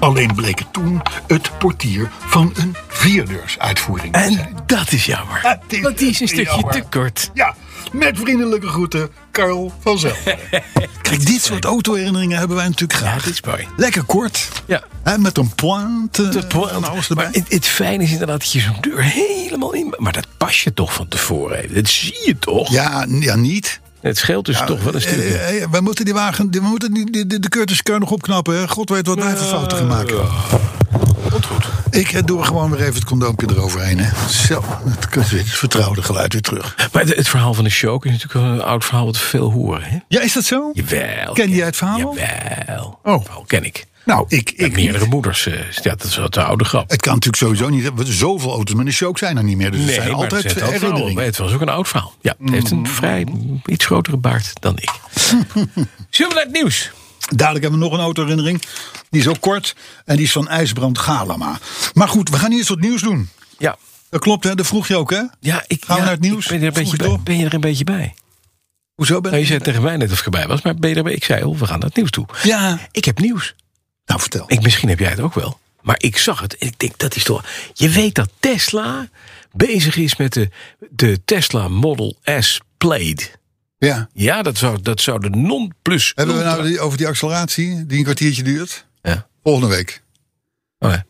[SPEAKER 3] Alleen bleek het toen het portier van een vierdeursuitvoering te zijn.
[SPEAKER 2] En dat is jammer.
[SPEAKER 3] Ja, het is
[SPEAKER 2] Want die is een stukje
[SPEAKER 3] jammer.
[SPEAKER 2] te kort.
[SPEAKER 3] Ja, met vriendelijke groeten, Karel van Zelden. Kijk, dit soort autoherinneringen hebben wij natuurlijk
[SPEAKER 2] Ja,
[SPEAKER 3] graag.
[SPEAKER 2] dit is mooi.
[SPEAKER 3] Lekker kort.
[SPEAKER 2] Ja.
[SPEAKER 3] Hè, met een pointe.
[SPEAKER 2] De poort.
[SPEAKER 3] en Eh, alles
[SPEAKER 2] maar
[SPEAKER 3] erbij.
[SPEAKER 2] het, het fijne is inderdaad dat je zo'n deur helemaal in... Maar dat pas je toch van tevoren even. Dat zie je toch?
[SPEAKER 3] ja, n- ja, niet.
[SPEAKER 2] Het scheelt dus toch wel een stukje.
[SPEAKER 3] Eh, eh, we moeten die wagen, die- we moeten die, die- die- de Curtis Keur nog opknappen. Hè? God weet wat wij voor fouten gaan maken.
[SPEAKER 2] Komt goed.
[SPEAKER 3] Ik eh, doe er gewoon weer even het condoompje eroverheen. Hè. Zo, het, kun- het vertrouwde geluid weer terug.
[SPEAKER 2] Maar de- het verhaal van de show is natuurlijk een oud verhaal wat we veel horen. Hè?
[SPEAKER 3] Ja, is dat zo?
[SPEAKER 2] Jawel.
[SPEAKER 3] Ken jij het verhaal al?
[SPEAKER 2] Jawel.
[SPEAKER 3] Oh.
[SPEAKER 2] Het verhaal ken ik.
[SPEAKER 3] Nou, ik... ik
[SPEAKER 2] Met meerdere moeders. eh, ja, dat is wel de oude grap.
[SPEAKER 3] Het kan natuurlijk sowieso niet. hè, want Zoveel auto's met een show zijn er niet meer. Dus er zijn
[SPEAKER 2] maar
[SPEAKER 3] altijd
[SPEAKER 2] het, zijn ook verhalen.
[SPEAKER 3] herinneringen. Mm-hmm.
[SPEAKER 2] het was ook een oud verhaal. Ja, het heeft een vrij mm, iets grotere baard dan ik. Zullen we naar het nieuws?
[SPEAKER 3] Dadelijk hebben we nog een autoherinnering. Die is ook kort. En die is van IJsbrand Galama. Maar goed, we gaan eerst wat nieuws doen.
[SPEAKER 2] Ja.
[SPEAKER 3] Dat klopt, hè? Dat vroeg je ook, hè?
[SPEAKER 2] Ja, ik,
[SPEAKER 3] Gaan we
[SPEAKER 2] ja,
[SPEAKER 3] naar het nieuws?
[SPEAKER 2] ik Ben je, er een beetje
[SPEAKER 3] Vroeg je
[SPEAKER 2] bij,
[SPEAKER 3] toch?
[SPEAKER 2] ben je er een beetje bij?
[SPEAKER 3] Hoezo ben
[SPEAKER 2] Nou, je zei tegen mij net of ik erbij was, maar ben je erbij? Ik zei al, we gaan naar het nieuws toe.
[SPEAKER 3] Ja.
[SPEAKER 2] Ik heb nieuws.
[SPEAKER 3] Nou, vertel.
[SPEAKER 2] Ik, misschien heb jij het ook wel. Maar ik zag het en ik denk, dat is toch... Je weet dat Tesla bezig is met de, de Tesla Model S Plaid.
[SPEAKER 3] Ja.
[SPEAKER 2] Ja, dat zou, dat zou de non-plus...
[SPEAKER 3] Hebben we
[SPEAKER 2] ultra-
[SPEAKER 3] nou die- over die acceleratie die een kwartiertje duurt?
[SPEAKER 2] Ja.
[SPEAKER 3] Volgende week.
[SPEAKER 2] Oh, ja.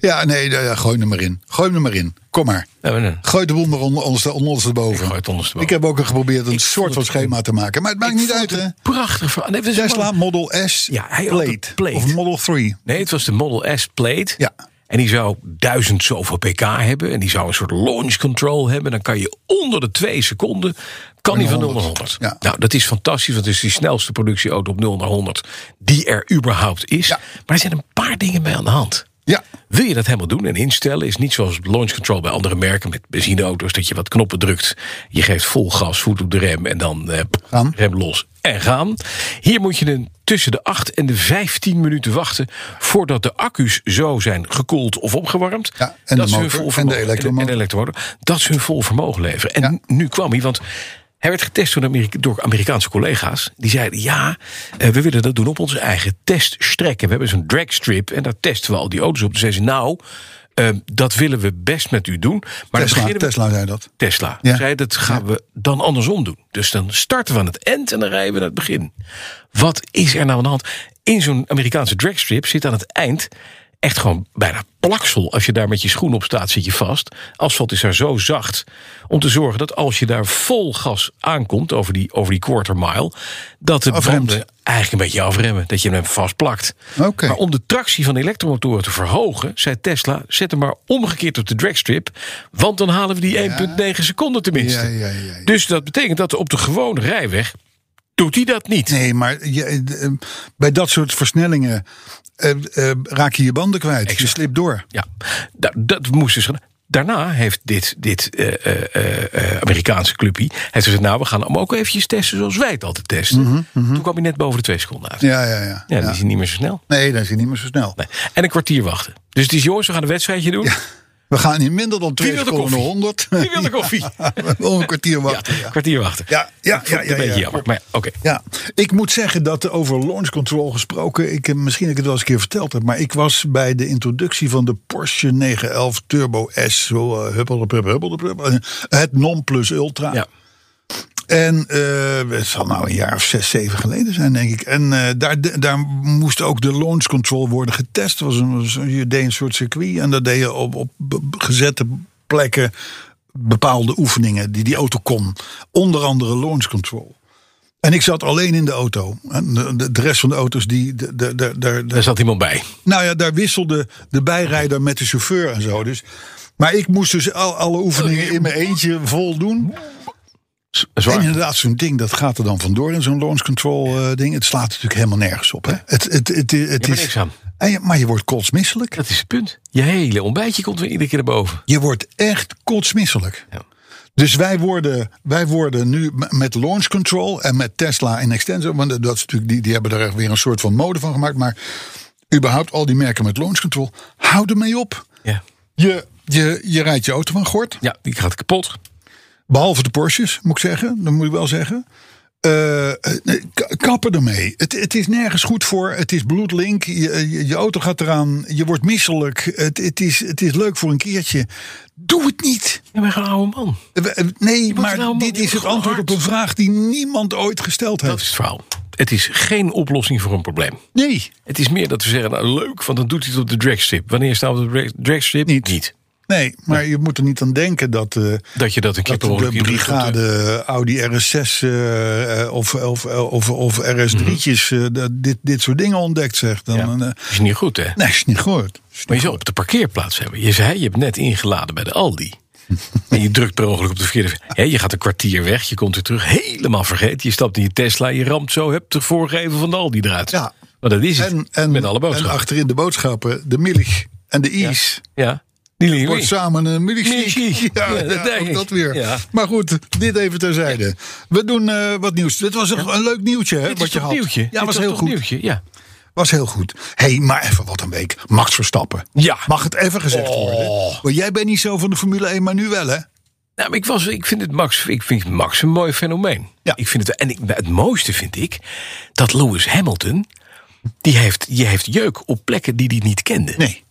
[SPEAKER 3] Ja, nee, ja, ja, gooi hem er maar in. Gooi hem er maar in. Kom maar.
[SPEAKER 2] Ja, maar dan-
[SPEAKER 3] Gooi de boel maar onder, onder,
[SPEAKER 2] Ik
[SPEAKER 3] ondersteboven.
[SPEAKER 2] gooi het ondersteboven.
[SPEAKER 3] Ik heb ook geprobeerd een
[SPEAKER 2] Ik
[SPEAKER 3] soort van
[SPEAKER 2] vond het-
[SPEAKER 3] schema te maken. Maar het maakt
[SPEAKER 2] Ik
[SPEAKER 3] niet
[SPEAKER 2] vond
[SPEAKER 3] uit,
[SPEAKER 2] het
[SPEAKER 3] hè?
[SPEAKER 2] een Prachtig verhaal. Nee, het is
[SPEAKER 3] Tesla
[SPEAKER 2] gewoon-
[SPEAKER 3] Model S
[SPEAKER 2] Ja, hij had
[SPEAKER 3] Plaid.
[SPEAKER 2] een Plaid.
[SPEAKER 3] Of Model 3.
[SPEAKER 2] Nee, het was de Model S Plate.
[SPEAKER 3] Ja.
[SPEAKER 2] En die zou duizend zoveel pk hebben. En die zou een soort launch control hebben. Dan kan je onder de twee seconden... kan die van 0 naar 100.
[SPEAKER 3] Ja.
[SPEAKER 2] Nou, dat is fantastisch. Want het is die snelste productieauto op 0 naar 100... die er überhaupt is.
[SPEAKER 3] Ja.
[SPEAKER 2] Maar er zijn een paar dingen bij aan de hand.
[SPEAKER 3] Ja.
[SPEAKER 2] Wil je dat helemaal doen en instellen? Is niet zoals launch control bij andere merken met benzineauto's... dat je wat knoppen drukt, je geeft vol gas, voet op de rem... en dan eh,
[SPEAKER 3] Gaan.
[SPEAKER 2] rem los en gaan. Hier moet je dan tussen de 8 en de 15 minuten wachten... voordat de accu's zo zijn gekoeld of opgewarmd...
[SPEAKER 3] Ja, en de
[SPEAKER 2] ze hun
[SPEAKER 3] motor
[SPEAKER 2] vol
[SPEAKER 3] en de
[SPEAKER 2] vermogen-
[SPEAKER 3] elektromotor.
[SPEAKER 2] en de elektromotor, dat ze hun vol vermogen leveren. En nu kwam hij, want... Hij werd getest door, Amerika- door Amerikaanse collega's. Die zeiden, ja, eh, we willen dat doen op onze eigen teststrek. En we hebben zo'n dragstrip en daar testen we al die auto's op. Toen zeiden ze, nou, eh, dat willen we best met u doen. Maar dan
[SPEAKER 3] Tesla,
[SPEAKER 2] beginnen we-
[SPEAKER 3] Tesla zei dat.
[SPEAKER 2] Tesla.
[SPEAKER 3] Ja.
[SPEAKER 2] Zei, dat gaan we dan andersom doen. Dus dan starten we aan het eind en dan rijden we naar het begin. Wat is er nou aan de hand? In zo'n Amerikaanse dragstrip zit aan het eind echt gewoon bijna plaksel. Als je daar met je schoen op staat, zit je vast. Asfalt is daar zo zacht om te zorgen dat als je daar vol gas aankomt over die, over die quarter mile, dat de
[SPEAKER 3] Afremt.
[SPEAKER 2] banden eigenlijk een beetje afremmen. Dat je hem vastplakt.
[SPEAKER 3] Oké.
[SPEAKER 2] Maar om de tractie van de elektromotoren te verhogen, zei Tesla, zet hem maar omgekeerd op de dragstrip. Want dan halen we die 1,9 seconden tenminste.
[SPEAKER 3] Ja, ja, ja, ja.
[SPEAKER 2] Dus dat betekent dat op de gewone rijweg doet hij dat niet.
[SPEAKER 3] Nee, maar je- eh, bij dat soort versnellingen eh, eh, raak je je banden kwijt. Je slipt door.
[SPEAKER 2] Ja, dat, dat moest dus. gedaan. Daarna heeft dit, dit eh, eh, eh, eh, Amerikaanse clubje heeft gezegd: Nou, we gaan hem ook eventjes testen zoals wij het altijd testen. Toen kwam hij net boven de twee seconden uit. Ja,
[SPEAKER 3] Mhm, Ja, ja, ja.
[SPEAKER 2] die is niet meer zo snel.
[SPEAKER 3] Nee, dat is niet meer zo snel.
[SPEAKER 2] Nee. En een kwartier wachten. Dus het is jongens, we gaan een wedstrijdje doen.
[SPEAKER 3] We gaan in minder dan twee
[SPEAKER 2] wil de
[SPEAKER 3] seconden
[SPEAKER 2] koffie?
[SPEAKER 3] 100.
[SPEAKER 2] Wie wil de koffie? Ja,
[SPEAKER 3] Wel een kwartier wachten. Ja,
[SPEAKER 2] kwartier wachten.
[SPEAKER 3] ja, ja. ja,
[SPEAKER 2] een
[SPEAKER 3] ja,
[SPEAKER 2] beetje
[SPEAKER 3] ja.
[SPEAKER 2] jammer. Maar ja, oké.
[SPEAKER 3] Ja, ik moet zeggen dat over launch control gesproken, ik, eh, misschien dat ik het wel eens een keer verteld heb, maar ik was bij de introductie van de Porsche 911 Turbo S, zo eh, huppelde, huppelde, huppelde, huppelde, eh, het non plus ultra.
[SPEAKER 2] Ja.
[SPEAKER 3] En eh, het zal nou een jaar of zes, zeven geleden zijn, denk ik. En eh, daar, daar moest ook de launch control worden getest. Was een, was een- je deed een soort circuit en dat deed je op, op be- be- gezette plekken bepaalde oefeningen die die auto kon. Onder andere launch control. En ik zat alleen in de auto. En de, de- de rest van de auto's, die, de, de, de, de, de-
[SPEAKER 2] Daar zat iemand bij.
[SPEAKER 3] nou ja, daar wisselde de bijrijder met de chauffeur en zo. Dus, maar ik moest dus al, alle oefeningen in mijn eentje voldoen. En
[SPEAKER 2] Zwaar.
[SPEAKER 3] inderdaad, zo'n ding dat gaat er dan vandoor in zo'n launch control eh, ding. Het slaat natuurlijk helemaal nergens op. Hè? Het, het, het, het,
[SPEAKER 2] hebt
[SPEAKER 3] is,
[SPEAKER 2] niks aan.
[SPEAKER 3] En je- maar je wordt kotsmisselijk.
[SPEAKER 2] Dat is het punt. Je hele ontbijtje komt weer iedere keer naar boven.
[SPEAKER 3] Je wordt echt kotsmisselijk.
[SPEAKER 2] Ja.
[SPEAKER 3] Dus wij worden, wij worden nu m- met launch control en met Tesla en Extenso. Want dat is natuurlijk, die, die hebben er echt weer een soort van mode van gemaakt. Maar überhaupt al die merken met launch control. Hou ermee op.
[SPEAKER 2] Ja.
[SPEAKER 3] Je, je, je rijdt je auto van gort.
[SPEAKER 2] Ja, die gaat kapot.
[SPEAKER 3] Behalve de Porsches, moet ik zeggen. Dat moet ik wel zeggen. Eh, eh, nee, k- kappen ermee. Het, het is nergens goed voor. Het is bloedlink. Je, je, je auto gaat eraan. Je wordt misselijk. Het, het, is, het is leuk voor een keertje. Doe het niet.
[SPEAKER 2] Ja, maar een oude man.
[SPEAKER 3] We- eh, Nee,
[SPEAKER 2] moet
[SPEAKER 3] maar
[SPEAKER 2] nou maar-
[SPEAKER 3] dit
[SPEAKER 2] je
[SPEAKER 3] is
[SPEAKER 2] moet
[SPEAKER 3] het
[SPEAKER 2] gewoon
[SPEAKER 3] antwoord op
[SPEAKER 2] hard.
[SPEAKER 3] een vraag die niemand ooit gesteld
[SPEAKER 2] Dat is
[SPEAKER 3] heeft.
[SPEAKER 2] het verhaal. Het is geen oplossing voor een probleem.
[SPEAKER 3] Nee,
[SPEAKER 2] Het is meer dat we zeggen, nou leuk, want dan doet hij het op de dragstrip. Wanneer staan we op de drag- dragstrip?
[SPEAKER 3] Niet. nee, maar je moet er niet aan denken dat... eh,
[SPEAKER 2] Dat je dat een keer
[SPEAKER 3] dat de
[SPEAKER 2] per ongeluk in de-
[SPEAKER 3] brigade Audi RS6 eh, eh, of, of, of, of RS3'tjes eh, dat dit, dit soort dingen ontdekt, zegt. Dan,
[SPEAKER 2] Ja.
[SPEAKER 3] eh,
[SPEAKER 2] Dat is niet goed, hè?
[SPEAKER 3] Nee, is niet goed.
[SPEAKER 2] Maar je zou op de parkeerplaats hebben. Je zei, je hebt net ingeladen bij de Aldi. En je drukt per ongeluk op de verkeerde... Hè, je gaat een kwartier weg, je komt weer terug. Helemaal vergeten. Je stapt in je Tesla, je ramt zo... hebt de voorgeven van de Aldi eruit.
[SPEAKER 3] Ja.
[SPEAKER 2] Maar dat is het.
[SPEAKER 3] En, en,
[SPEAKER 2] met alle
[SPEAKER 3] en
[SPEAKER 2] boodschappen.
[SPEAKER 3] achterin de boodschappen, de milch en de is.
[SPEAKER 2] ja, die liggen
[SPEAKER 3] Wordt
[SPEAKER 2] weer.
[SPEAKER 3] samen een milkshake.
[SPEAKER 2] Milkshake.
[SPEAKER 3] Ja,
[SPEAKER 2] Ja,
[SPEAKER 3] ja,
[SPEAKER 2] dat denk
[SPEAKER 3] ook
[SPEAKER 2] ik.
[SPEAKER 3] dat weer.
[SPEAKER 2] Ja.
[SPEAKER 3] Maar goed, dit even terzijde. We doen eh, wat nieuws. Dit was een, een leuk nieuwtje, hè?
[SPEAKER 2] Dit
[SPEAKER 3] wat
[SPEAKER 2] is
[SPEAKER 3] je
[SPEAKER 2] toch
[SPEAKER 3] had.
[SPEAKER 2] nieuwtje? Dit
[SPEAKER 3] Ja, was
[SPEAKER 2] is
[SPEAKER 3] heel
[SPEAKER 2] toch
[SPEAKER 3] goed.
[SPEAKER 2] nieuwtje? Ja.
[SPEAKER 3] Was heel goed. Hé, hey, maar even wat een week. Max Verstappen.
[SPEAKER 2] Ja. Oh.
[SPEAKER 3] Mag het even gezegd worden? Want jij bent niet zo van de Formule 1, maar nu wel, hè?
[SPEAKER 2] Nou, maar ik, was, ik, vind het Max, ik vind Max een mooi fenomeen.
[SPEAKER 3] Ja.
[SPEAKER 2] Ik vind het, en ik, het mooiste vind ik dat Lewis Hamilton... die heeft, die heeft jeuk op plekken die hij niet kende.
[SPEAKER 3] Nee.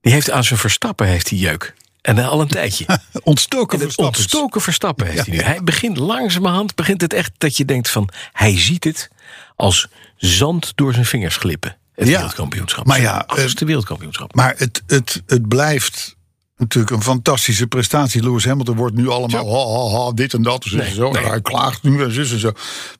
[SPEAKER 2] Die heeft aan zijn verstappen heeft hij jeuk. En al een tijdje.
[SPEAKER 3] Ontstoken
[SPEAKER 2] En het
[SPEAKER 3] Verstappen.
[SPEAKER 2] ontstoken verstappen heeft hij nu. Hij begint langzamerhand, begint het echt dat je denkt van... hij ziet het als zand door zijn vingers glippen. Het
[SPEAKER 3] Ja.
[SPEAKER 2] wereldkampioenschap.
[SPEAKER 3] Maar
[SPEAKER 2] Zijn
[SPEAKER 3] ja, eh,
[SPEAKER 2] achtste wereldkampioenschap.
[SPEAKER 3] Maar het, het, het blijft natuurlijk een fantastische prestatie. Lewis Hamilton wordt nu allemaal ha, ha, ha, dit en dat. zus en zo.
[SPEAKER 2] nee.
[SPEAKER 3] Hij klaagt nu en zus en zo.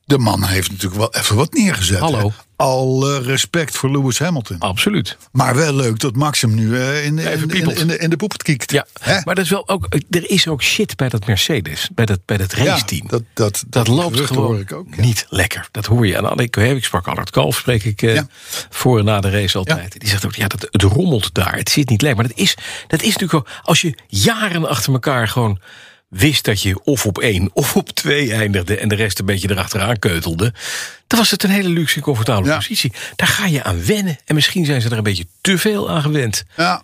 [SPEAKER 3] De man heeft natuurlijk wel even wat neergezet.
[SPEAKER 2] Hallo.
[SPEAKER 3] hè. Alle respect voor Lewis Hamilton.
[SPEAKER 2] Absoluut.
[SPEAKER 3] Maar wel leuk dat Max hem nu eh, in, in,
[SPEAKER 2] Even
[SPEAKER 3] in,
[SPEAKER 2] piepelt.
[SPEAKER 3] in de, in de poepet kiekt.
[SPEAKER 2] Ja,
[SPEAKER 3] Hè?
[SPEAKER 2] maar dat is wel ook, eh, er is ook shit bij dat Mercedes, bij dat, bij dat
[SPEAKER 3] Ja,
[SPEAKER 2] raceteam.
[SPEAKER 3] dat, dat,
[SPEAKER 2] dat loopt
[SPEAKER 3] gerucht
[SPEAKER 2] gewoon
[SPEAKER 3] hoor ik ook. ja.
[SPEAKER 2] niet lekker. Dat hoor je aan alle. Ik, ik sprak Allard Kalf, spreek ik eh,
[SPEAKER 3] Ja.
[SPEAKER 2] voor en na de race altijd. Die zegt ook, ja, dat, het rommelt daar. Het zit niet lekker. Maar dat is, dat is natuurlijk wel, als je jaren achter elkaar gewoon wist dat je of op één of op twee eindigde... en de rest een beetje erachteraan keutelde... dan was het een hele luxe en comfortabele
[SPEAKER 3] Ja.
[SPEAKER 2] positie. Daar ga je aan wennen. En misschien zijn ze er een beetje te veel aan gewend.
[SPEAKER 3] Ja,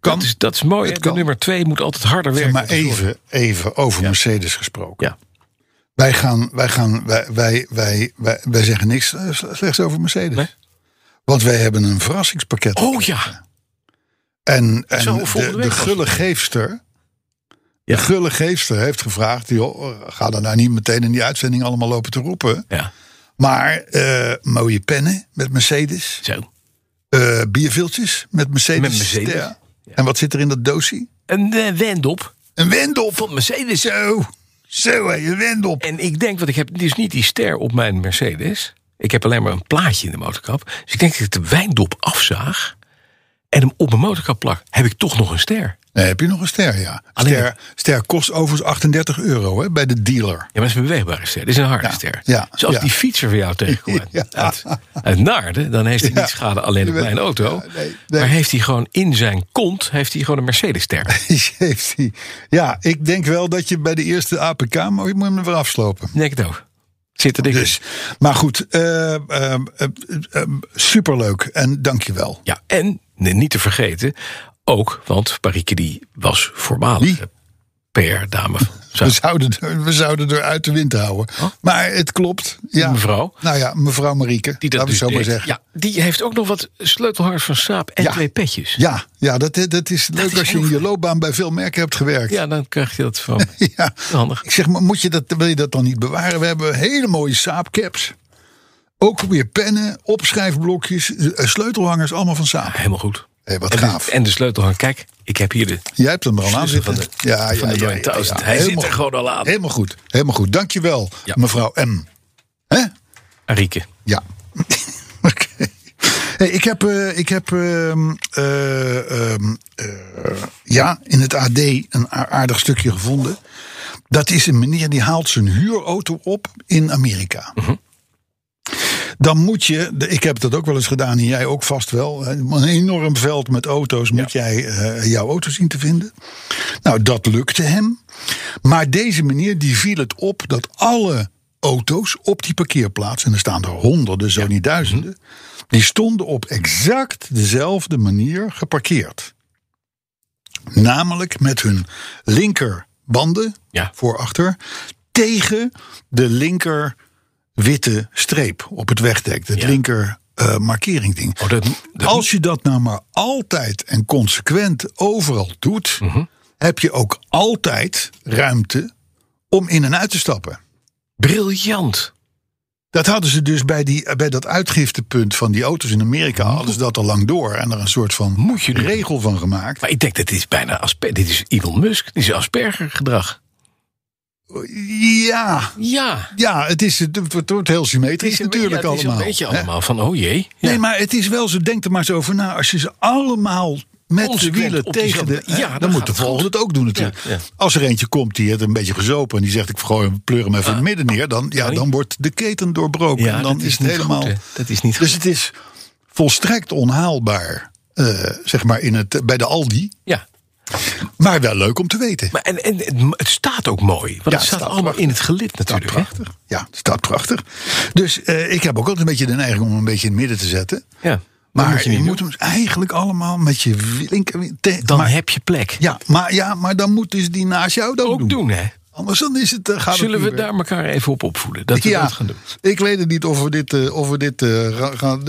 [SPEAKER 3] kan.
[SPEAKER 2] Dat is, dat is mooi. hè. De
[SPEAKER 3] kan.
[SPEAKER 2] nummer twee moet altijd harder
[SPEAKER 3] Zeg
[SPEAKER 2] werken.
[SPEAKER 3] maar
[SPEAKER 2] om te scoren.
[SPEAKER 3] even, even over Mercedes gesproken.
[SPEAKER 2] Ja.
[SPEAKER 3] Wij, gaan, wij, gaan, wij, wij, wij, wij, wij zeggen niks eh, slechts over Mercedes.
[SPEAKER 2] Nee.
[SPEAKER 3] Want wij hebben een verrassingspakket.
[SPEAKER 2] Oh ja.
[SPEAKER 3] En, en
[SPEAKER 2] Zo,
[SPEAKER 3] de,
[SPEAKER 2] volgende week
[SPEAKER 3] de
[SPEAKER 2] pas.
[SPEAKER 3] gulle geefster.
[SPEAKER 2] Ja.
[SPEAKER 3] De gulle geefster heeft gevraagd: joh, ga daar nou niet meteen in die uitzending allemaal lopen te roepen.
[SPEAKER 2] Ja,
[SPEAKER 3] Maar eh, mooie pennen met Mercedes.
[SPEAKER 2] zo.
[SPEAKER 3] eh bierviltjes met Mercedes.
[SPEAKER 2] Met Mercedes,
[SPEAKER 3] Ja. En wat zit er in dat doosje?
[SPEAKER 2] Een eh, wendop
[SPEAKER 3] Een wendel.
[SPEAKER 2] van Mercedes.
[SPEAKER 3] Zo, zo hé, een wendel.
[SPEAKER 2] En ik denk, want ik heb dus niet die ster op mijn Mercedes. Ik heb alleen maar een plaatje in de motorkap. Dus ik denk dat ik de wijndop afzaag en hem op mijn motorkap plak. Heb ik toch nog een ster?
[SPEAKER 3] Nee, heb je nog een ster, ja.
[SPEAKER 2] Alleen
[SPEAKER 3] Ster, ster kost overigens 38 euro hè, bij de dealer.
[SPEAKER 2] Ja, maar het is een beweegbare ster. Dit is een harde
[SPEAKER 3] Ja,
[SPEAKER 2] ster.
[SPEAKER 3] ja,
[SPEAKER 2] Zoals
[SPEAKER 3] ja.
[SPEAKER 2] die fietser van jou tegenkomt
[SPEAKER 3] Ja.
[SPEAKER 2] uit, uit Naarden. Dan heeft hij
[SPEAKER 3] Ja.
[SPEAKER 2] niet schade alleen
[SPEAKER 3] Je
[SPEAKER 2] op
[SPEAKER 3] bent-
[SPEAKER 2] mijn auto.
[SPEAKER 3] Ja, nee, nee.
[SPEAKER 2] Maar heeft hij gewoon in zijn kont heeft hij gewoon een Mercedes-ster.
[SPEAKER 3] Heeft die- ja, ik denk wel dat je bij de eerste APK, maar je moet hem er weer afslopen.
[SPEAKER 2] Ik Denk het ook. Zit er dik in.
[SPEAKER 3] Dus, maar goed, eh, ehm, eh, ehm, superleuk en dankjewel.
[SPEAKER 2] Ja, en nee, niet te vergeten, ook, want Parikedi was voormalig PR-dame van Zuid-
[SPEAKER 3] We zouden, er- we zouden er uit de wind houden. Maar het klopt. Ja.
[SPEAKER 2] Mevrouw?
[SPEAKER 3] Nou ja, Oh. mevrouw Marieke.
[SPEAKER 2] Die dat
[SPEAKER 3] laten
[SPEAKER 2] dus
[SPEAKER 3] we zo maar
[SPEAKER 2] deed.
[SPEAKER 3] zeggen.
[SPEAKER 2] Ja, die heeft ook nog wat sleutelhard van Saab en
[SPEAKER 3] Ja.
[SPEAKER 2] twee petjes. Ja.
[SPEAKER 3] Ja, ja dat, dat is leuk
[SPEAKER 2] is
[SPEAKER 3] als je in
[SPEAKER 2] heel
[SPEAKER 3] je
[SPEAKER 2] fijn.
[SPEAKER 3] loopbaan bij veel merken hebt gewerkt.
[SPEAKER 2] dan krijg je dat van.
[SPEAKER 3] Ja.
[SPEAKER 2] Handig.
[SPEAKER 3] Ik zeg, maar moet je dat, wil je dat dan niet bewaren? We hebben hele mooie saapcaps. Ook weer pennen, opschrijfblokjes, eh, sleutelhangers, allemaal van saap.
[SPEAKER 2] Helemaal goed.
[SPEAKER 3] Hé, wat
[SPEAKER 2] en, de-
[SPEAKER 3] gaaf.
[SPEAKER 2] en de sleutelhang, kijk, ik heb hier de
[SPEAKER 3] Jij hebt hem er al aan
[SPEAKER 2] Sleutel
[SPEAKER 3] zitten.
[SPEAKER 2] van de- van de Royal Thousand. Hij zit er gewoon al aan.
[SPEAKER 3] Helemaal goed, helemaal goed. Dankjewel,
[SPEAKER 2] Ja.
[SPEAKER 3] mevrouw M. Hè?
[SPEAKER 2] Arieke.
[SPEAKER 3] Ja. Oké. Hey, ik heb, eh, ik heb ehm, eh, ehm, eh, ja, in het AD een a- aardig stukje gevonden. Dat is een meneer die haalt zijn huurauto op in Amerika. Dan moet je, de- ik heb dat ook wel eens gedaan en jij ook vast wel. hè, Een enorm veld met auto's moet jij eh, jouw auto zien te vinden. Nou, dat lukte hem. Maar deze meneer die viel het op dat alle auto's op die parkeerplaats, en er staan er honderden, zo niet duizenden, die stonden op exact dezelfde manier geparkeerd. Namelijk met hun linkerbanden
[SPEAKER 2] Ja.
[SPEAKER 3] voor achter tegen de linker witte streep op het wegdek, het
[SPEAKER 2] Ja.
[SPEAKER 3] linker eh, markeringding.
[SPEAKER 2] Oh, dat, dat-
[SPEAKER 3] Als je dat nou maar altijd en consequent overal doet,
[SPEAKER 2] Mhm.
[SPEAKER 3] heb je ook altijd ruimte om in en uit te stappen.
[SPEAKER 2] briljant.
[SPEAKER 3] Dat hadden ze dus bij, die, bij dat uitgiftepunt van die auto's in Amerika, hadden ze dat al lang door en er een soort van
[SPEAKER 2] Moet je doen.
[SPEAKER 3] regel van gemaakt.
[SPEAKER 2] Maar ik denk, dit is bijna Asper, dit is Elon Musk, dit is Asperger gedrag.
[SPEAKER 3] Ja,
[SPEAKER 2] Ja,
[SPEAKER 3] ja het, is, het wordt- het wordt heel symmetrisch
[SPEAKER 2] een-
[SPEAKER 3] natuurlijk
[SPEAKER 2] ja, het is
[SPEAKER 3] allemaal.
[SPEAKER 2] een beetje
[SPEAKER 3] hè?
[SPEAKER 2] allemaal van, oh jee. Ja.
[SPEAKER 3] Nee, maar het is wel zo. Denk er maar eens over na. Als je ze allemaal met de
[SPEAKER 2] Consequent
[SPEAKER 3] wielen
[SPEAKER 2] op
[SPEAKER 3] tegen de.
[SPEAKER 2] diezelfde-
[SPEAKER 3] hè,
[SPEAKER 2] Ja,
[SPEAKER 3] dan,
[SPEAKER 2] dan
[SPEAKER 3] moet
[SPEAKER 2] gaat
[SPEAKER 3] de
[SPEAKER 2] het
[SPEAKER 3] volgende
[SPEAKER 2] goed.
[SPEAKER 3] het ook doen natuurlijk.
[SPEAKER 2] Ja, ja.
[SPEAKER 3] Als er eentje komt die het een beetje gezopen en die zegt: ik gooi hem, pleur hem even in het midden neer. Dan, ja,
[SPEAKER 2] sorry.
[SPEAKER 3] dan wordt de keten doorbroken.
[SPEAKER 2] Ah. Ja,
[SPEAKER 3] en dan
[SPEAKER 2] dat
[SPEAKER 3] is
[SPEAKER 2] is
[SPEAKER 3] het
[SPEAKER 2] niet
[SPEAKER 3] helemaal.
[SPEAKER 2] goed, hè. Dat is niet
[SPEAKER 3] dus
[SPEAKER 2] goed.
[SPEAKER 3] het is volstrekt onhaalbaar. eh, zeg maar in het, bij de Aldi.
[SPEAKER 2] ja.
[SPEAKER 3] Maar wel leuk om te weten.
[SPEAKER 2] Maar en, en het- het staat ook mooi, want
[SPEAKER 3] het
[SPEAKER 2] het staat
[SPEAKER 3] staat
[SPEAKER 2] allemaal
[SPEAKER 3] prachtig.
[SPEAKER 2] in het gelid
[SPEAKER 3] staat
[SPEAKER 2] natuurlijk. hè.
[SPEAKER 3] prachtig. Ja, het staat prachtig. Dus eh, ik heb ook altijd een beetje de neiging om hem een beetje in het midden te zetten.
[SPEAKER 2] Ja, dat
[SPEAKER 3] Maar
[SPEAKER 2] moet
[SPEAKER 3] je,
[SPEAKER 2] je niet
[SPEAKER 3] moet hem eigenlijk allemaal met je linker... te-
[SPEAKER 2] Dan
[SPEAKER 3] maar-
[SPEAKER 2] heb je plek.
[SPEAKER 3] Ja, maar, ja, maar dan moet dus die naast jou dat
[SPEAKER 2] Ook
[SPEAKER 3] doen.
[SPEAKER 2] doen, hè.
[SPEAKER 3] Anders dan is het, eh, gaat het
[SPEAKER 2] Zullen
[SPEAKER 3] niet
[SPEAKER 2] we
[SPEAKER 3] werken.
[SPEAKER 2] daar elkaar even op opvoeden? Dat we dat gaan doen.
[SPEAKER 3] Ik weet het niet of we, dit, eh, of we, dit, eh, ra- gaan,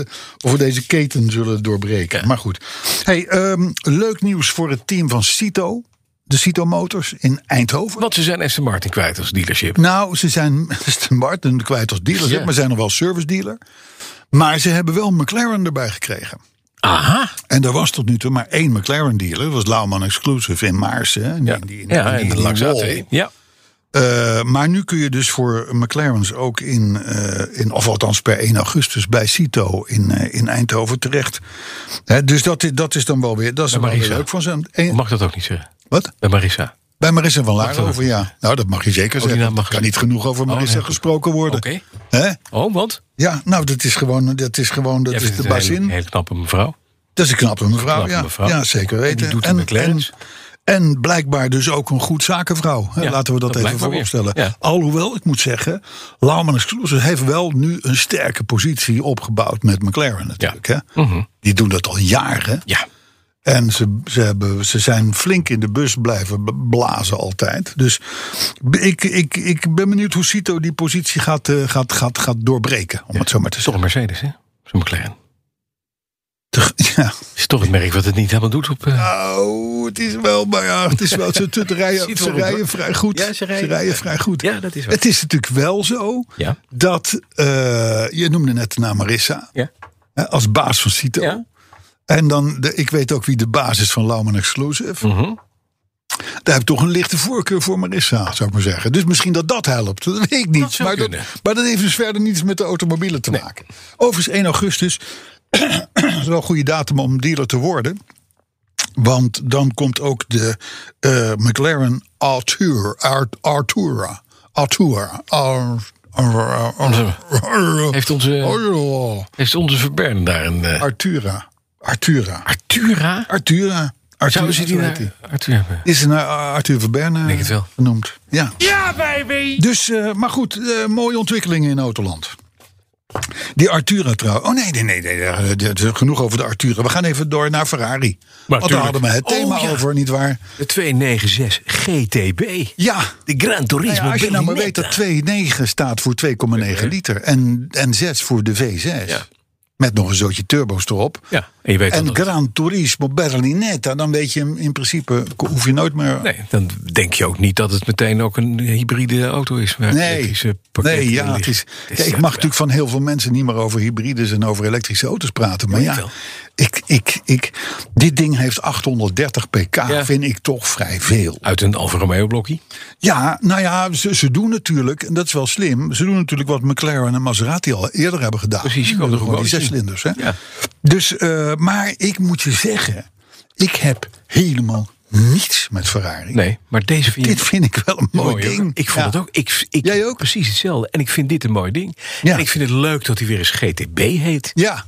[SPEAKER 3] of we deze keten zullen doorbreken.
[SPEAKER 2] Ja.
[SPEAKER 3] Maar goed. Hey, ehm, leuk nieuws voor het team van Cito. De Cito Motors in Eindhoven.
[SPEAKER 2] Want ze zijn Aston Martin kwijt als dealership.
[SPEAKER 3] Nou, ze zijn Aston Martin kwijt als dealer, zeg
[SPEAKER 2] Ja.
[SPEAKER 3] maar zijn nog wel service dealer. Maar ze hebben wel McLaren erbij gekregen.
[SPEAKER 2] Aha.
[SPEAKER 3] En er was tot nu toe maar één McLaren dealer. Dat was Lauman Exclusive in Maarsen. hè, in die- in die- in die-
[SPEAKER 2] Ja,
[SPEAKER 3] in
[SPEAKER 2] en de
[SPEAKER 3] die wall.
[SPEAKER 2] Laxate. Ja.
[SPEAKER 3] Eh, maar nu kun je dus voor McLaren's ook in, eh, in of althans per 1 augustus bij Cito in, eh, in Eindhoven terecht. Hè, dus dat is, dat is dan wel weer, dat is dan wel weer
[SPEAKER 2] Marissa.
[SPEAKER 3] leuk van zijn. En-
[SPEAKER 2] Mag dat ook niet zeggen?
[SPEAKER 3] wat?
[SPEAKER 2] Bij Marissa.
[SPEAKER 3] Bij Marissa van
[SPEAKER 2] dat
[SPEAKER 3] Laarhoven,
[SPEAKER 2] ook?
[SPEAKER 3] ja. Nou, dat mag je zeker
[SPEAKER 2] Oh, die
[SPEAKER 3] zeggen.
[SPEAKER 2] naam mag
[SPEAKER 3] Er kan
[SPEAKER 2] je-
[SPEAKER 3] niet genoeg over Marissa
[SPEAKER 2] nee, goed.
[SPEAKER 3] gesproken worden.
[SPEAKER 2] Oké.
[SPEAKER 3] Hè?
[SPEAKER 2] Oh, want?
[SPEAKER 3] Ja, nou, dat is gewoon, dat is gewoon, dat
[SPEAKER 2] Jij
[SPEAKER 3] is
[SPEAKER 2] vindt
[SPEAKER 3] de
[SPEAKER 2] het een hele-
[SPEAKER 3] bazin.
[SPEAKER 2] hele knappe mevrouw.
[SPEAKER 3] Dat is een knappe mevrouw,
[SPEAKER 2] Knappe
[SPEAKER 3] ja.
[SPEAKER 2] mevrouw.
[SPEAKER 3] ja, zeker
[SPEAKER 2] En die
[SPEAKER 3] weten.
[SPEAKER 2] doet de
[SPEAKER 3] en,
[SPEAKER 2] McLaren's.
[SPEAKER 3] en blijkbaar dus ook een goed zakenvrouw. hè.
[SPEAKER 2] Ja,
[SPEAKER 3] Laten we dat,
[SPEAKER 2] dat
[SPEAKER 3] even
[SPEAKER 2] blijkt maar weer.
[SPEAKER 3] vooropstellen.
[SPEAKER 2] Ja.
[SPEAKER 3] Alhoewel, ik moet zeggen, Lauman Exclusive heeft wel nu een sterke positie opgebouwd met McLaren natuurlijk. Hè? Die doen dat al jaren.
[SPEAKER 2] Mhm. Ja.
[SPEAKER 3] En ze, ze, hebben, ze zijn flink in de bus blijven b- blazen altijd. Dus b- ik, ik, ik ben benieuwd hoe Cito die positie gaat, eh, gaat, gaat, gaat doorbreken. Om het zo maar te
[SPEAKER 2] Toch
[SPEAKER 3] zeggen.
[SPEAKER 2] een Mercedes, hè? Zo'n McLaren.
[SPEAKER 3] Te- Ja.
[SPEAKER 2] Is toch het merk wat het niet helemaal doet op... eh,
[SPEAKER 3] Oh, het is wel, maar ja, het is wel, ze, ze rijden,
[SPEAKER 2] Ziet
[SPEAKER 3] ze
[SPEAKER 2] erop, hoor.
[SPEAKER 3] rijden vrij goed.
[SPEAKER 2] Ja, ze rijden-
[SPEAKER 3] vrij goed.
[SPEAKER 2] Ja, dat is waar.
[SPEAKER 3] Het is natuurlijk wel zo
[SPEAKER 2] Ja.
[SPEAKER 3] dat, eh, je noemde net de naam Marissa,
[SPEAKER 2] Ja.
[SPEAKER 3] hè, als baas van Cito.
[SPEAKER 2] Ja.
[SPEAKER 3] En dan, de, ik weet ook wie de baas is van Lauman Exclusive.
[SPEAKER 2] Mhm.
[SPEAKER 3] Daar heb ik toch een lichte voorkeur voor Marissa, zou ik maar zeggen. Dus misschien dat dat helpt, dat weet ik niet.
[SPEAKER 2] zou
[SPEAKER 3] maar, dat,
[SPEAKER 2] kunnen.
[SPEAKER 3] maar dat heeft dus verder niets met de automobielen te maken. Overigens 1 augustus, dat is wel een goede datum om dealer te worden. Want dan komt ook de eh, McLaren Artura. Art- Artura. Artura. Ar- Ar- Ar- Ar-
[SPEAKER 2] Heeft
[SPEAKER 3] Oh.
[SPEAKER 2] onze, heeft onze Verbern daar een... eh,
[SPEAKER 3] Artura. Artura.
[SPEAKER 2] Artura?
[SPEAKER 3] Artura.
[SPEAKER 2] Zouden ze die
[SPEAKER 3] Artura.
[SPEAKER 2] naar...
[SPEAKER 3] heet die.
[SPEAKER 2] Artura hebben?
[SPEAKER 3] Is naar eh, Arthur Verberne
[SPEAKER 2] Denk het wel.
[SPEAKER 3] genoemd. Ja. ja, baby! Dus, eh, maar goed, eh, mooie ontwikkelingen in Autoland. Die Artura trouwens. Oh nee, nee, nee, nee, eh, d- d- genoeg over de Artura. We gaan even door naar Ferrari. Want daar
[SPEAKER 2] tuurlijk.
[SPEAKER 3] hadden we het
[SPEAKER 2] Oh,
[SPEAKER 3] thema
[SPEAKER 2] ja.
[SPEAKER 3] over, nietwaar?
[SPEAKER 2] De 296 GTB.
[SPEAKER 3] Ja.
[SPEAKER 2] De Gran Turismo
[SPEAKER 3] Nou ja, als je nou maar weet dat 2,9 staat voor 2,9 liter en, en 6 voor de V6.
[SPEAKER 2] Ja.
[SPEAKER 3] Met nog een zootje turbo's erop.
[SPEAKER 2] Ja, en je weet dan
[SPEAKER 3] En
[SPEAKER 2] dat-
[SPEAKER 3] Gran Turismo Berlinetta, dan weet je hem in principe, hoef je nooit meer
[SPEAKER 2] Nee, dan denk je ook niet dat het meteen ook een hybride auto is. waar
[SPEAKER 3] Nee,
[SPEAKER 2] elektrische pakketten
[SPEAKER 3] nee
[SPEAKER 2] in
[SPEAKER 3] ja, het
[SPEAKER 2] liggen.
[SPEAKER 3] is,
[SPEAKER 2] Het
[SPEAKER 3] kijk,
[SPEAKER 2] is
[SPEAKER 3] ik mag natuurlijk van heel veel mensen niet meer over hybrides en over elektrische auto's praten. Maar
[SPEAKER 2] Ja,
[SPEAKER 3] ja,
[SPEAKER 2] wel.
[SPEAKER 3] ik, ik, ik, dit ding heeft 830 pk,
[SPEAKER 2] Ja.
[SPEAKER 3] vind ik toch vrij veel.
[SPEAKER 2] Uit een Alfa Romeo blokkie.
[SPEAKER 3] Ja, nou ja, ze, ze doen natuurlijk, en dat is wel slim, ze doen natuurlijk wat McLaren en Maserati al eerder hebben gedaan.
[SPEAKER 2] Precies, je kan er ook
[SPEAKER 3] Gewoon
[SPEAKER 2] wel
[SPEAKER 3] die
[SPEAKER 2] eens in.
[SPEAKER 3] zescilinders. Hè?
[SPEAKER 2] Ja.
[SPEAKER 3] Dus, eh, maar ik moet je zeggen, ik heb helemaal niets met Ferrari.
[SPEAKER 2] Nee, maar deze vind je...
[SPEAKER 3] Dit vind ik wel een mooi,
[SPEAKER 2] mooi, hoor.
[SPEAKER 3] ding.
[SPEAKER 2] Ik vond
[SPEAKER 3] Ja.
[SPEAKER 2] het ook. Ik, ik,
[SPEAKER 3] Jij ook?
[SPEAKER 2] Precies hetzelfde. En ik vind dit een mooi ding.
[SPEAKER 3] Ja.
[SPEAKER 2] En ik vind het leuk dat hij weer eens GTB heet.
[SPEAKER 3] Ja.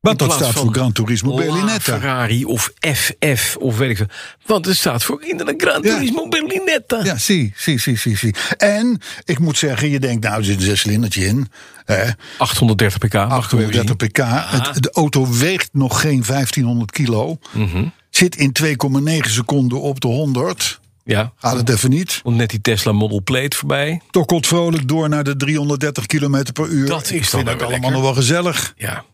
[SPEAKER 3] Want dat staat voor Gran Turismo Berlinetta.
[SPEAKER 2] Ferrari of FF of weet ik veel. Want het staat voor inderdaad Gran
[SPEAKER 3] Ja.
[SPEAKER 2] Turismo Berlinetta.
[SPEAKER 3] Ja, zie, zie, zie, zie, zie. En ik moet zeggen, je denkt, nou, er zit een zescilindertje in. Hè,
[SPEAKER 2] 830 pk. mag ik wel weer zien.
[SPEAKER 3] 830 pk.
[SPEAKER 2] Ah.
[SPEAKER 3] Het, de auto weegt nog geen 1500 kilo.
[SPEAKER 2] Mhm.
[SPEAKER 3] Zit in 2,9 seconden op de 100.
[SPEAKER 2] Ja.
[SPEAKER 3] Gaat het even niet.
[SPEAKER 2] Want net die Tesla Model Plate voorbij.
[SPEAKER 3] Tokkelt vrolijk door naar de 330 km per uur.
[SPEAKER 2] Dat
[SPEAKER 3] ik
[SPEAKER 2] is dan
[SPEAKER 3] vind
[SPEAKER 2] wel
[SPEAKER 3] het
[SPEAKER 2] weer
[SPEAKER 3] allemaal
[SPEAKER 2] lekker.
[SPEAKER 3] nog wel gezellig.
[SPEAKER 2] Ja.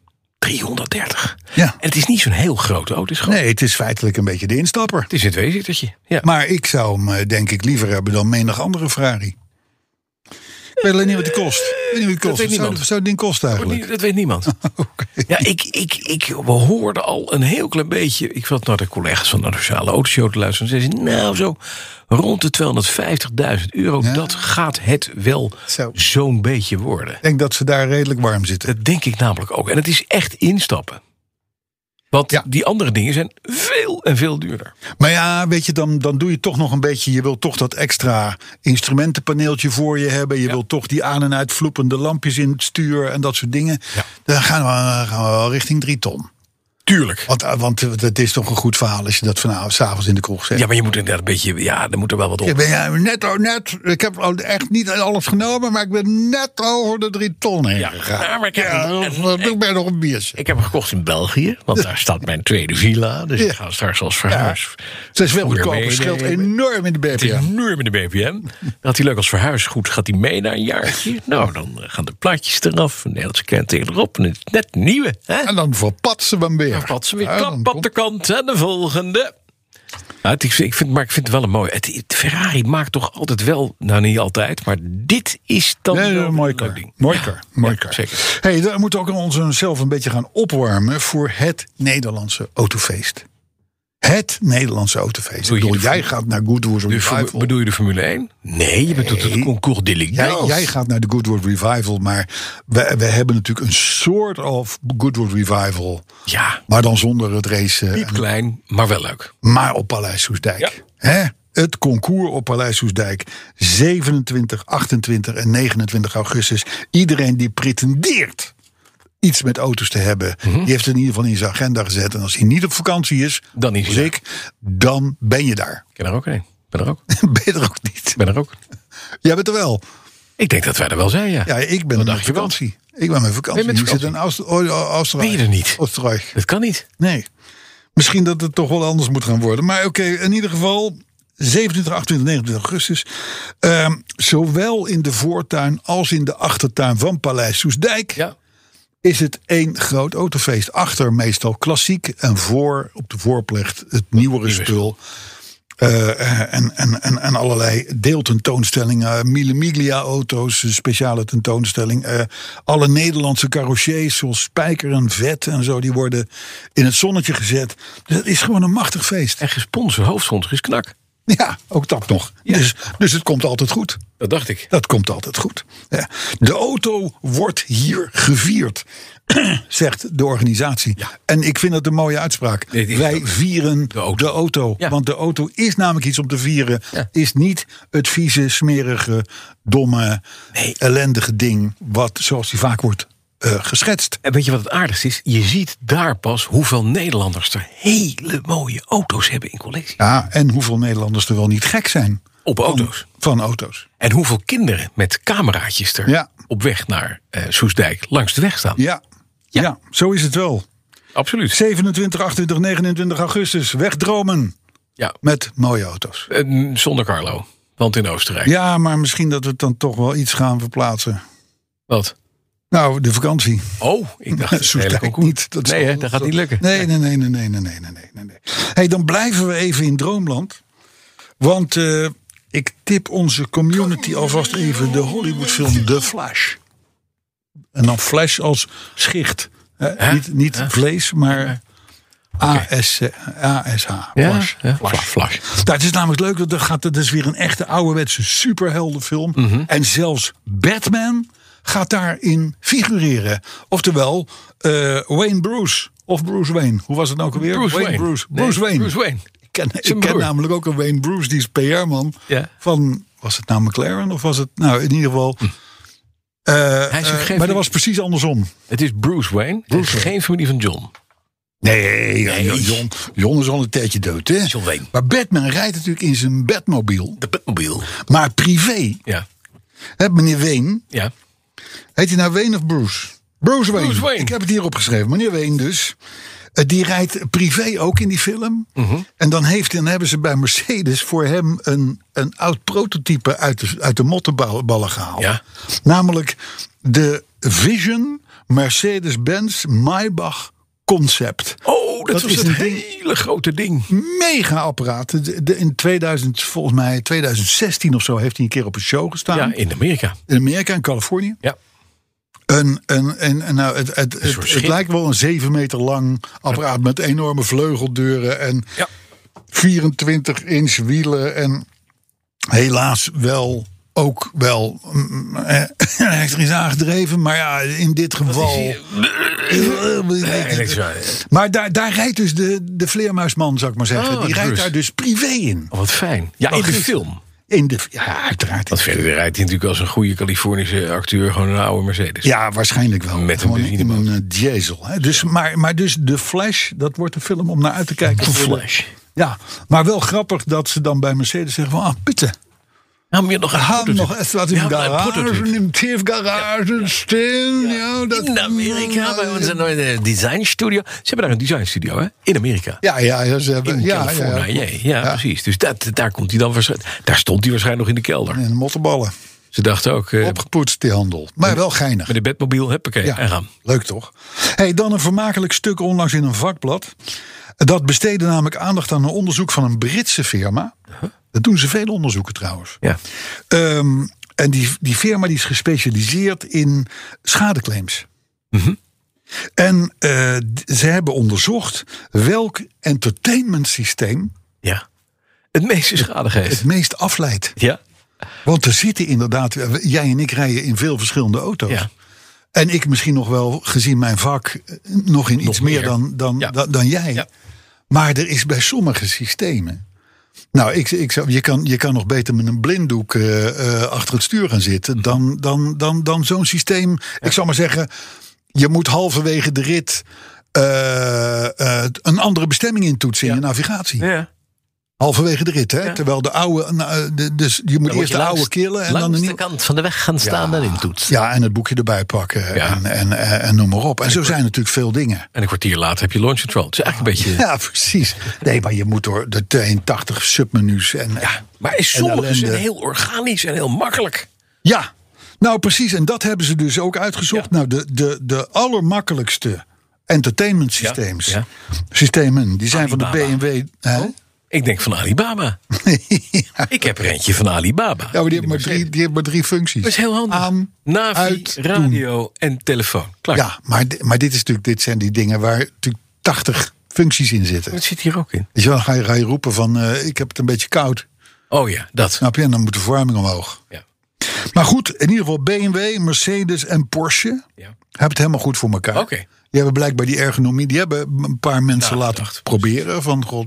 [SPEAKER 2] 330.
[SPEAKER 3] Ja.
[SPEAKER 2] En het is niet zo'n heel grote auto. Het is gewoon...
[SPEAKER 3] Nee, het is feitelijk een beetje de instapper.
[SPEAKER 2] Het is een tweezittertje. Ja.
[SPEAKER 3] Maar ik zou hem eh, denk ik liever hebben dan menig andere Ferrari. Ik weet alleen niet wat die kost. Ik weet niet wat die kost.
[SPEAKER 2] weet
[SPEAKER 3] Wat zou,
[SPEAKER 2] niemand.
[SPEAKER 3] wat zou het ding kosten eigenlijk?
[SPEAKER 2] Nee, dat weet niemand. Ja, ik, ik, ik we hoorden al een heel klein beetje. Ik zat naar de collega's van de Nationale Autoshow te luisteren. En zeiden ze, nou zo rond de 250.000 euro.
[SPEAKER 3] Ja.
[SPEAKER 2] Dat gaat het wel
[SPEAKER 3] Zo.
[SPEAKER 2] zo'n beetje worden.
[SPEAKER 3] Ik denk dat ze daar redelijk warm zitten.
[SPEAKER 2] Dat denk ik namelijk ook. En het is echt instappen. Want
[SPEAKER 3] Ja.
[SPEAKER 2] die andere dingen zijn veel en veel duurder.
[SPEAKER 3] Maar ja, weet je, dan, dan doe je toch nog een beetje. Je wilt toch dat extra instrumentenpaneeltje voor je hebben. Je wilt toch die aan- en uitvloepende lampjes in het stuur en dat soort dingen.
[SPEAKER 2] Ja.
[SPEAKER 3] Dan gaan we, gaan we wel richting drie ton.
[SPEAKER 2] Tuurlijk.
[SPEAKER 3] Want, eh, want het is toch een goed verhaal als je dat vanavond s'avonds in de kroeg zegt.
[SPEAKER 2] Ja, maar je moet inderdaad een beetje... Ja, er moet er wel wat op.
[SPEAKER 3] Ik ben ja, net, oh, net, ik heb al echt niet alles genomen, maar ik ben net over de drie ton heen
[SPEAKER 2] Ja,
[SPEAKER 3] gegaan.
[SPEAKER 2] ja, maar ik heb-
[SPEAKER 3] dat doe ik ben nog een biertje.
[SPEAKER 2] Ik heb hem gekocht in België, want daar staat mijn tweede villa. Dus
[SPEAKER 3] Ja.
[SPEAKER 2] ik ga straks als verhuis.
[SPEAKER 3] Het is veel
[SPEAKER 2] Moet je
[SPEAKER 3] goedkoper,
[SPEAKER 2] meenemen.
[SPEAKER 3] scheelt enorm in de
[SPEAKER 2] Het is
[SPEAKER 3] BPM.
[SPEAKER 2] enorm in de BPM. Dat had hij leuk als verhuisgoed. Gaat hij mee naar een jaartje? Nou, dan eh, gaan de plaatjes eraf. Een Nederlandse kenteken erop. En het is net nieuwe. Hè?
[SPEAKER 3] En dan verpatsen we hem weer.
[SPEAKER 2] Dan vat ze weer
[SPEAKER 3] Ja, dan
[SPEAKER 2] klap op
[SPEAKER 3] komt-
[SPEAKER 2] de kant. En de volgende. Nou, het- ik vind- ik vind, maar ik vind het wel een mooi. Het, het Ferrari maakt toch altijd wel, nou niet altijd, maar dit is dan
[SPEAKER 3] Nee,
[SPEAKER 2] wel
[SPEAKER 3] nee, mooi
[SPEAKER 2] een leuk
[SPEAKER 3] kar.
[SPEAKER 2] ding.
[SPEAKER 3] Mooi
[SPEAKER 2] Ja,
[SPEAKER 3] kar. Mooi
[SPEAKER 2] ja,
[SPEAKER 3] kar.
[SPEAKER 2] Zeker.
[SPEAKER 3] Hey, daar moeten we ook ons zelf een beetje gaan opwarmen voor het Nederlandse autofeest. Het Nederlandse autofeest.
[SPEAKER 2] Doe
[SPEAKER 3] Ik
[SPEAKER 2] je
[SPEAKER 3] bedoel,
[SPEAKER 2] de
[SPEAKER 3] jij gaat naar Goodwood
[SPEAKER 2] De formu-
[SPEAKER 3] Revival.
[SPEAKER 2] bedoel je de Formule 1? Nee, je bedoelt het concours
[SPEAKER 3] Jij,
[SPEAKER 2] d'élégance.
[SPEAKER 3] jij gaat naar de Goodwood Revival, maar we, we hebben natuurlijk een soort of Goodwood Revival.
[SPEAKER 2] Ja,
[SPEAKER 3] Maar dan zonder het racen. en-
[SPEAKER 2] piepklein, maar wel leuk.
[SPEAKER 3] Maar op Paleis Soesdijk.
[SPEAKER 2] Ja.
[SPEAKER 3] Hè? Het concours op Paleis Soesdijk. 27, 28 en 29 augustus. Iedereen die pretendeert iets met auto's te hebben.
[SPEAKER 2] Mhm.
[SPEAKER 3] Die heeft het in ieder geval in zijn agenda gezet. En als hij niet op vakantie is,
[SPEAKER 2] Dan is hij
[SPEAKER 3] als
[SPEAKER 2] daar.
[SPEAKER 3] ik, dan ben je daar.
[SPEAKER 2] Ik ken er ook een. Ik ben er ook.
[SPEAKER 3] ben je er ook niet.
[SPEAKER 2] Ik ben er ook.
[SPEAKER 3] Jij bent er wel.
[SPEAKER 2] Ik denk dat wij er wel zijn, ja.
[SPEAKER 3] Ja, ik ben op
[SPEAKER 2] dacht je wel?
[SPEAKER 3] vakantie. Ik ben met vakantie.
[SPEAKER 2] Ben je met
[SPEAKER 3] Ik zit in
[SPEAKER 2] vakantie?
[SPEAKER 3] Oost- O- O- Oostenrijk.
[SPEAKER 2] Ben je er niet?
[SPEAKER 3] Oostenrijk.
[SPEAKER 2] Dat kan niet.
[SPEAKER 3] Nee. Misschien dat het toch wel anders moet gaan worden. Maar oké, in ieder geval 27, 28, 29 augustus. Ehm, zowel in de voortuin als in de achtertuin van Paleis Soesdijk
[SPEAKER 2] Ja.
[SPEAKER 3] is het één groot autofeest. Achter meestal klassiek en voor op de voorplecht het nieuwere spul. Eh, en, en, en, en allerlei deeltentoonstellingen, Mille Miglia auto's, een speciale tentoonstelling. Eh, alle Nederlandse carrossiers zoals Spijker en Vet en zo, die worden in het zonnetje gezet. Dus het is gewoon een machtig feest.
[SPEAKER 2] En gesponsord, hoofdsponsor is knak.
[SPEAKER 3] Ja, ook dat nog. Dus, dus het komt altijd goed.
[SPEAKER 2] Dat dacht ik.
[SPEAKER 3] Dat komt altijd goed. Ja. De auto wordt hier gevierd, zegt de organisatie. En ik vind dat een mooie uitspraak.
[SPEAKER 2] Nee, die is
[SPEAKER 3] Wij
[SPEAKER 2] ook-
[SPEAKER 3] vieren de auto.
[SPEAKER 2] auto. Ja.
[SPEAKER 3] Want de auto is namelijk iets om te vieren.
[SPEAKER 2] Ja.
[SPEAKER 3] Is niet het vieze, smerige, domme, ellendige ding. Wat zoals die vaak wordt eh, geschetst.
[SPEAKER 2] En weet je wat het aardigste is? Je ziet daar pas hoeveel Nederlanders er hele mooie auto's hebben in collectie.
[SPEAKER 3] Ja, en hoeveel Nederlanders er wel niet gek zijn
[SPEAKER 2] Op auto's.
[SPEAKER 3] van auto's.
[SPEAKER 2] En hoeveel kinderen met cameraatjes er
[SPEAKER 3] Ja.
[SPEAKER 2] op weg naar eh, Soesdijk langs de weg staan.
[SPEAKER 3] Ja. Ja. ja, zo is het wel.
[SPEAKER 2] Absoluut.
[SPEAKER 3] 27, 28, 29 augustus. Wegdromen
[SPEAKER 2] Ja.
[SPEAKER 3] met mooie auto's.
[SPEAKER 2] Eh, Zonder Carlo. Want in Oostenrijk.
[SPEAKER 3] Ja, maar misschien dat we het dan toch wel iets gaan verplaatsen.
[SPEAKER 2] Wat?
[SPEAKER 3] Nou, de vakantie.
[SPEAKER 2] Oh, ik dacht.
[SPEAKER 3] Soestdijk
[SPEAKER 2] hele concours.
[SPEAKER 3] niet. Dat is
[SPEAKER 2] nee, hè,
[SPEAKER 3] wel-
[SPEAKER 2] dat gaat niet lukken.
[SPEAKER 3] Nee, nee, nee, nee, nee, nee, nee, nee, nee, nee, nee. Hey, dan blijven we even in Droomland. Want eh, ik tip onze community alvast even de Hollywoodfilm The Flash. En dan Flash als schicht. hè? Niet, niet vlees, maar AS, ASH.
[SPEAKER 2] Ja,
[SPEAKER 3] Flash.
[SPEAKER 2] ja. Flash. Flash.
[SPEAKER 3] Nou, het is namelijk leuk, want dat, gaat, dat is weer een echte ouderwetse superheldenfilm.
[SPEAKER 2] Mhm.
[SPEAKER 3] En zelfs Batman gaat daarin figureren. Oftewel, eh, Wayne Bruce. Of Bruce Wayne. Hoe was het nou ook alweer?
[SPEAKER 2] Bruce Wayne.
[SPEAKER 3] Bruce,
[SPEAKER 2] Nee,
[SPEAKER 3] Bruce Wayne.
[SPEAKER 2] Bruce Wayne.
[SPEAKER 3] Ik ken,
[SPEAKER 2] Zijn
[SPEAKER 3] ik ken
[SPEAKER 2] broer.
[SPEAKER 3] namelijk ook een Wayne Bruce, die is PR-man.
[SPEAKER 2] Ja. Hm.
[SPEAKER 3] Van, was het nou McLaren? Of was het, nou in ieder geval... eh,
[SPEAKER 2] is ook
[SPEAKER 3] eh,
[SPEAKER 2] geen
[SPEAKER 3] maar dat
[SPEAKER 2] vriend.
[SPEAKER 3] was precies andersom.
[SPEAKER 2] Het is Bruce Wayne. Het is geen familie van John.
[SPEAKER 3] Nee, John, John is al een tijdje dood, hè?
[SPEAKER 2] John Wayne.
[SPEAKER 3] Maar Batman rijdt natuurlijk in zijn Batmobile.
[SPEAKER 2] De Batmobile.
[SPEAKER 3] Maar privé,
[SPEAKER 2] Ja.
[SPEAKER 3] hè, meneer Wayne,
[SPEAKER 2] Ja.
[SPEAKER 3] heet hij nou Wayne of Bruce? Bruce Wayne.
[SPEAKER 2] Bruce Wayne.
[SPEAKER 3] Ik heb het hier opgeschreven, meneer Wayne dus. Eh, Die rijdt privé ook in die film.
[SPEAKER 2] Mhm.
[SPEAKER 3] En dan, heeft, dan hebben ze bij Mercedes voor hem een, een oud prototype uit de, uit de mottenballen gehaald.
[SPEAKER 2] Ja.
[SPEAKER 3] Namelijk de Vision Mercedes-Benz Maybach Concept.
[SPEAKER 2] Oh, dat,
[SPEAKER 3] Dat
[SPEAKER 2] was
[SPEAKER 3] is
[SPEAKER 2] het
[SPEAKER 3] een ding.
[SPEAKER 2] hele grote ding.
[SPEAKER 3] Mega apparaat. De- de- in 2000, volgens mij 2016 of zo heeft hij een keer op een show gestaan.
[SPEAKER 2] Ja, in Amerika.
[SPEAKER 3] In Amerika en Californië.
[SPEAKER 2] Ja.
[SPEAKER 3] Een, een, een, een- nou, het, het, het,
[SPEAKER 2] soort
[SPEAKER 3] het
[SPEAKER 2] schip.
[SPEAKER 3] lijkt wel een 7 meter lang apparaat met enorme vleugeldeuren en
[SPEAKER 2] Ja.
[SPEAKER 3] 24 inch wielen. En helaas wel ook wel. mm, eh, Hij heeft er iets aangedreven, maar ja, in dit geval. Maar daar, daar rijdt dus de, de vleermuisman, zou ik maar zeggen.
[SPEAKER 2] Oh,
[SPEAKER 3] Die
[SPEAKER 2] de
[SPEAKER 3] rijdt
[SPEAKER 2] Bruce.
[SPEAKER 3] daar dus privé in.
[SPEAKER 2] Oh, wat fijn. Ja, in de
[SPEAKER 3] Logisch.
[SPEAKER 2] film.
[SPEAKER 3] in de, ja, uiteraard.
[SPEAKER 2] Want verder rijdt hij natuurlijk als een goede Californische acteur gewoon een oude Mercedes.
[SPEAKER 3] Ja, waarschijnlijk wel.
[SPEAKER 2] Met een
[SPEAKER 3] Gewoon in
[SPEAKER 2] benzinemotor.
[SPEAKER 3] een eh, diesel. Hè. Dus, maar, maar dus de Flash, dat wordt een film om naar uit te kijken.
[SPEAKER 2] De Flash.
[SPEAKER 3] Ja, maar wel grappig dat ze dan bij Mercedes zeggen van... Ah, Pitte,
[SPEAKER 2] Gaan we hier nog een
[SPEAKER 3] gaan we
[SPEAKER 2] Ah, prototype?
[SPEAKER 3] nog even wat in
[SPEAKER 2] Ja,
[SPEAKER 3] de
[SPEAKER 2] maar een
[SPEAKER 3] garage,
[SPEAKER 2] prototype.
[SPEAKER 3] in de TIF-garage staan. Ja. dat,
[SPEAKER 2] In Amerika, bij onze nieuwe designstudio. Ze hebben daar een designstudio, hè? In Amerika.
[SPEAKER 3] Ja, ja, ja, ze hebben...
[SPEAKER 2] In
[SPEAKER 3] ja, ja,
[SPEAKER 2] Californië.
[SPEAKER 3] ja.
[SPEAKER 2] Ja, ja, precies. Dus dat, daar, komt hij dan waarschijnlijk, daar stond hij waarschijnlijk nog in de kelder.
[SPEAKER 3] En mottenballen.
[SPEAKER 2] Ze dachten ook, eh,
[SPEAKER 3] Opgepoetst, die handel. Maar wel geinig.
[SPEAKER 2] met de bedmobiel, huppakee,
[SPEAKER 3] Ja,
[SPEAKER 2] en gaan.
[SPEAKER 3] leuk toch? Hey, dan een vermakelijk stuk onlangs in een vakblad. Dat besteedde namelijk aandacht aan een onderzoek van een Britse firma. Dat doen ze veel onderzoeken trouwens.
[SPEAKER 2] Ja.
[SPEAKER 3] Ehm, en die, die firma die is gespecialiseerd in schadeclaims.
[SPEAKER 2] Mhm.
[SPEAKER 3] En eh, d- ze hebben onderzocht welk entertainment systeem
[SPEAKER 2] ja. Het meeste schade
[SPEAKER 3] het
[SPEAKER 2] geeft.
[SPEAKER 3] meest afleidt.
[SPEAKER 2] Ja.
[SPEAKER 3] Want er zitten inderdaad, jij en ik rijden in veel verschillende auto's.
[SPEAKER 2] Ja.
[SPEAKER 3] En ik misschien nog wel, gezien mijn vak, eh, nog in iets meer,
[SPEAKER 2] meer.
[SPEAKER 3] dan, dan,
[SPEAKER 2] Ja.
[SPEAKER 3] dan, dan jij.
[SPEAKER 2] Ja.
[SPEAKER 3] Maar er is bij sommige systemen. Nou, ik, ik zou, je, kan, je kan nog beter met een blinddoek eh, eh, achter het stuur gaan zitten dan, dan, dan, dan zo'n systeem. Ik zou maar zeggen, je moet halverwege de rit eh, eh, een andere bestemming intoetsen in je navigatie.
[SPEAKER 2] ja.
[SPEAKER 3] Halverwege de rit, hè? Terwijl de oude. nou, de- dus je moet eerst de oude killen en
[SPEAKER 4] langs
[SPEAKER 3] dan de
[SPEAKER 4] de
[SPEAKER 3] nieuwe.
[SPEAKER 4] kant van de weg gaan staan
[SPEAKER 3] Ja.
[SPEAKER 4] en intoetsen.
[SPEAKER 3] Ja, en het boekje erbij pakken.
[SPEAKER 2] Ja.
[SPEAKER 3] En, en, en, en noem maar op. En zo zijn natuurlijk veel dingen.
[SPEAKER 2] En een kwartier later heb je launch control. Het is eigenlijk een beetje...
[SPEAKER 3] Ja, precies. Nee, maar je moet door de 82 submenu's. En, ja,
[SPEAKER 2] Maar is sommige zijn
[SPEAKER 3] ellende.
[SPEAKER 2] heel organisch en heel makkelijk.
[SPEAKER 3] Ja, nou precies. En dat hebben ze dus ook uitgezocht. Nou, de, de, de allermakkelijkste entertainment systems.
[SPEAKER 2] ja. Oh.
[SPEAKER 3] Systemen, die zijn van de BMW. Hè?
[SPEAKER 2] Ik denk van Alibaba.
[SPEAKER 3] ja,
[SPEAKER 2] Ik heb er eentje van Alibaba.
[SPEAKER 3] maar die hebben maar drie, die hebben maar drie functies.
[SPEAKER 2] Dat is heel handig.
[SPEAKER 3] Aan,
[SPEAKER 2] Navi,
[SPEAKER 3] uit, doen.
[SPEAKER 2] radio en telefoon. Klaar.
[SPEAKER 3] Ja, maar, di- maar dit, is natuurlijk, dit zijn die dingen waar natuurlijk 80 functies in zitten.
[SPEAKER 2] Dat zit hier ook in.
[SPEAKER 3] Dus dan ga je, ga je roepen van eh, ik heb het een beetje koud.
[SPEAKER 2] Oh ja, dat.
[SPEAKER 3] Snap je? En dan moet de verwarming omhoog.
[SPEAKER 2] Ja.
[SPEAKER 3] Maar goed, in ieder geval BMW, Mercedes en Porsche
[SPEAKER 2] Ja.
[SPEAKER 3] hebben het helemaal goed voor elkaar.
[SPEAKER 2] Oké. Nou,
[SPEAKER 3] Die hebben blijkbaar die ergonomie, die hebben een paar mensen laten
[SPEAKER 2] Nagedacht.
[SPEAKER 3] proberen. Van, god,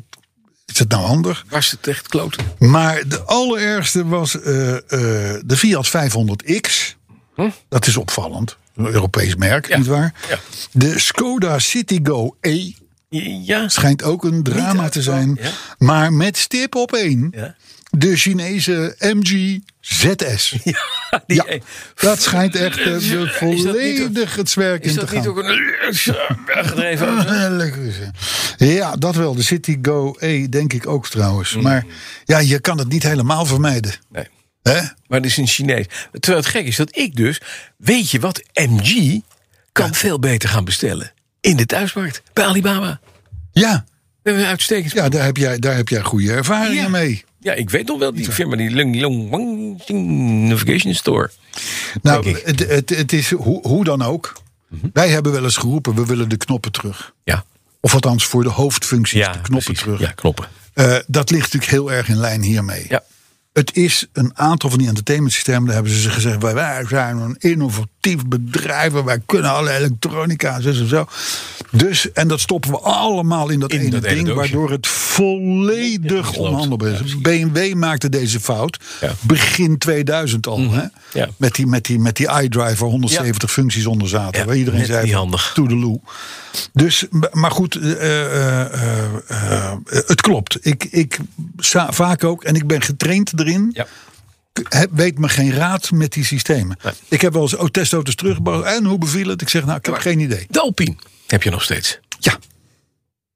[SPEAKER 3] is het nou handig?
[SPEAKER 2] Was het echt kloten?
[SPEAKER 3] Maar de allerergste was eh, eh, de Fiat 500X. Dat is opvallend. Een Europees merk, nietwaar?
[SPEAKER 2] Hm? Ja.
[SPEAKER 3] De Skoda Citigo E
[SPEAKER 2] Ja.
[SPEAKER 3] schijnt ook een drama
[SPEAKER 2] uit
[SPEAKER 3] te
[SPEAKER 2] te
[SPEAKER 3] zijn.
[SPEAKER 2] komen, ja.
[SPEAKER 3] Maar met stip op één.
[SPEAKER 2] Ja.
[SPEAKER 3] De Chinese MG ZS.
[SPEAKER 2] Die-
[SPEAKER 3] Ja, dat schijnt echt eh, de
[SPEAKER 2] niet ook-
[SPEAKER 3] volledig het zwerk in
[SPEAKER 2] Is
[SPEAKER 3] te
[SPEAKER 2] dat niet
[SPEAKER 3] gaan.
[SPEAKER 2] ook een gedreven auto?
[SPEAKER 3] Eh, lekker is, hè. Ja, dat wel. De City Go E denk ik ook trouwens.
[SPEAKER 2] Mm.
[SPEAKER 3] Maar ja, je kan het niet helemaal vermijden.
[SPEAKER 2] Nee.
[SPEAKER 3] Hè?
[SPEAKER 2] Maar het is in Chinees. Terwijl het gek is dat ik dus... Weet je wat? MG kan veel beter gaan bestellen. In de thuismarkt. Bij Alibaba.
[SPEAKER 3] Ja,
[SPEAKER 2] We hebben een uitstekend...
[SPEAKER 3] ja daar, heb jij, daar heb jij goede ervaringen
[SPEAKER 2] Ja.
[SPEAKER 3] mee.
[SPEAKER 2] Ja, ik weet nog wel die firma, die Lung Long Wang Ting Navigation Store.
[SPEAKER 3] Nou,
[SPEAKER 2] Denk ik. Mhm.
[SPEAKER 3] het, het, het is hoe, hoe dan ook. Wij hebben wel eens geroepen, we willen de knoppen terug.
[SPEAKER 2] Ja,
[SPEAKER 3] Of althans voor de hoofdfuncties de knoppen
[SPEAKER 2] precies.
[SPEAKER 3] terug.
[SPEAKER 2] Ja, knoppen.
[SPEAKER 3] Eh, dat ligt natuurlijk heel erg in lijn hiermee.
[SPEAKER 2] Ja.
[SPEAKER 3] Het is een aantal van die entertainment systemen, daar hebben ze gezegd, wij, wij zijn een innovatief bedrijf, en wij kunnen alle elektronica en zo, zo. Dus, en dat stoppen we allemaal in dat
[SPEAKER 2] In
[SPEAKER 3] ene
[SPEAKER 2] dat ene
[SPEAKER 3] ding,
[SPEAKER 2] doosje.
[SPEAKER 3] waardoor het volledig
[SPEAKER 2] gesloopt.
[SPEAKER 3] onhandelbaar is. BMW maakte deze fout
[SPEAKER 2] Ja. Mhm.
[SPEAKER 3] begin 2000 al, hè?
[SPEAKER 2] Ja.
[SPEAKER 3] Met, die, met, die, met die iDrive waar 170 functies onder zaten,
[SPEAKER 2] Ja,
[SPEAKER 3] waar iedereen
[SPEAKER 2] net
[SPEAKER 3] zei,
[SPEAKER 2] niet handig.
[SPEAKER 3] toedeloe. Dus, maar goed, eh, eh, eh, eh, het klopt. Ik, ik sa- vaak ook, en ik ben getraind erin.
[SPEAKER 2] Ja.
[SPEAKER 3] Ik heb- Weet me geen raad met die systemen.
[SPEAKER 2] Nee.
[SPEAKER 3] Ik heb wel eens oh, testauto's teruggebracht. En hoe beviel het? Ik zeg, nou, ik heb geen idee.
[SPEAKER 2] De Alpine heb je nog steeds.
[SPEAKER 3] Ja,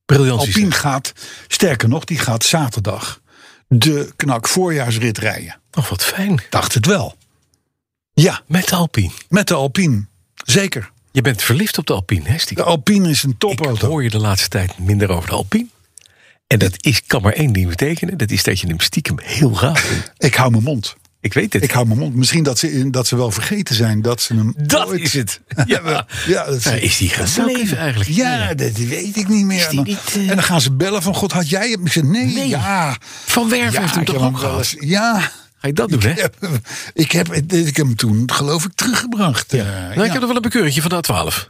[SPEAKER 2] Briljant systeem.
[SPEAKER 3] Alpine gaat, sterker nog, die gaat zaterdag de knak voorjaarsrit rijden.
[SPEAKER 2] Oh, wat fijn.
[SPEAKER 3] Dacht het wel. Ja,
[SPEAKER 2] Met de Alpine.
[SPEAKER 3] met de Alpine. Zeker.
[SPEAKER 2] Je bent verliefd op de Alpine, hè,
[SPEAKER 3] De
[SPEAKER 2] stiekem?
[SPEAKER 3] Alpine is een
[SPEAKER 2] Ik
[SPEAKER 3] topauto.
[SPEAKER 2] hoor je de laatste tijd minder over de Alpine. En dat is, kan maar één ding betekenen. Dat is dat je hem stiekem heel gaaf vindt.
[SPEAKER 3] Ik hou mijn mond.
[SPEAKER 2] Ik weet het.
[SPEAKER 3] Ik hou mijn mond. Misschien dat ze, dat ze wel vergeten zijn dat ze hem.
[SPEAKER 2] dat
[SPEAKER 3] ooit-
[SPEAKER 2] is het.
[SPEAKER 3] Ja,
[SPEAKER 2] Ja.
[SPEAKER 3] dat is,
[SPEAKER 2] Waar is die
[SPEAKER 3] dat zou
[SPEAKER 2] gebleven
[SPEAKER 3] kunnen.
[SPEAKER 2] eigenlijk?
[SPEAKER 3] Ja, dat weet ik niet meer.
[SPEAKER 2] Is die
[SPEAKER 3] En dan-
[SPEAKER 2] niet, eh,
[SPEAKER 3] En dan gaan ze bellen van God, had jij hem? Ik zeg nee,
[SPEAKER 2] Nee.
[SPEAKER 3] ja.
[SPEAKER 2] Van Werven heeft hem
[SPEAKER 3] ik
[SPEAKER 2] toch
[SPEAKER 3] heb
[SPEAKER 2] ook
[SPEAKER 3] wel
[SPEAKER 2] gehad?
[SPEAKER 3] eens- Ja.
[SPEAKER 2] Ga je dat doen, hè?
[SPEAKER 3] Ik heb, ik, heb, ik heb hem toen, geloof ik, teruggebracht. Eh, Ja,
[SPEAKER 2] Nou, ik heb nog wel een bekeurtje van de A12.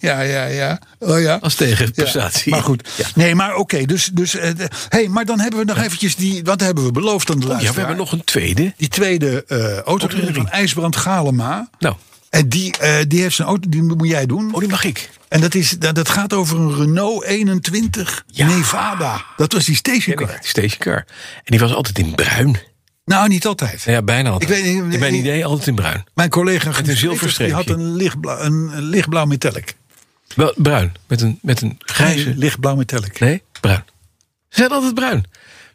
[SPEAKER 3] ja, ja, ja. Oh ja.
[SPEAKER 2] Als tegenprestatie.
[SPEAKER 3] Ja, maar goed.
[SPEAKER 2] Ja.
[SPEAKER 3] Nee, maar oké. dus, dus, eh, de- hey, maar dan hebben we nog eventjes die... Wat hebben we beloofd aan de
[SPEAKER 2] Oh, Ja,
[SPEAKER 3] luisteraar?
[SPEAKER 2] we hebben nog een tweede.
[SPEAKER 3] Die tweede eh auto van IJsbrand Galema.
[SPEAKER 2] Nou,
[SPEAKER 3] En die, eh, die heeft zijn auto, die moet jij doen.
[SPEAKER 2] oh, die mag ik.
[SPEAKER 3] En dat, is, dat, dat gaat over een Renault 21
[SPEAKER 2] Ja.
[SPEAKER 3] Nevada. Dat was die stationcar.
[SPEAKER 2] Die stationcar. En die was altijd in bruin.
[SPEAKER 3] Nou, niet altijd.
[SPEAKER 2] Nou ja, bijna altijd.
[SPEAKER 3] Ik weet niet-
[SPEAKER 2] in mijn idee altijd in bruin.
[SPEAKER 3] Mijn collega Guus
[SPEAKER 2] een zilver
[SPEAKER 3] Peters, die had
[SPEAKER 2] streepje.
[SPEAKER 3] een lichtblauw, een, een lichtblauw metallic.
[SPEAKER 2] Wel, bruin. Met een, met een
[SPEAKER 3] Nee,
[SPEAKER 2] grijze...
[SPEAKER 3] lichtblauw metallic.
[SPEAKER 2] Nee, bruin. Ze zijn altijd bruin.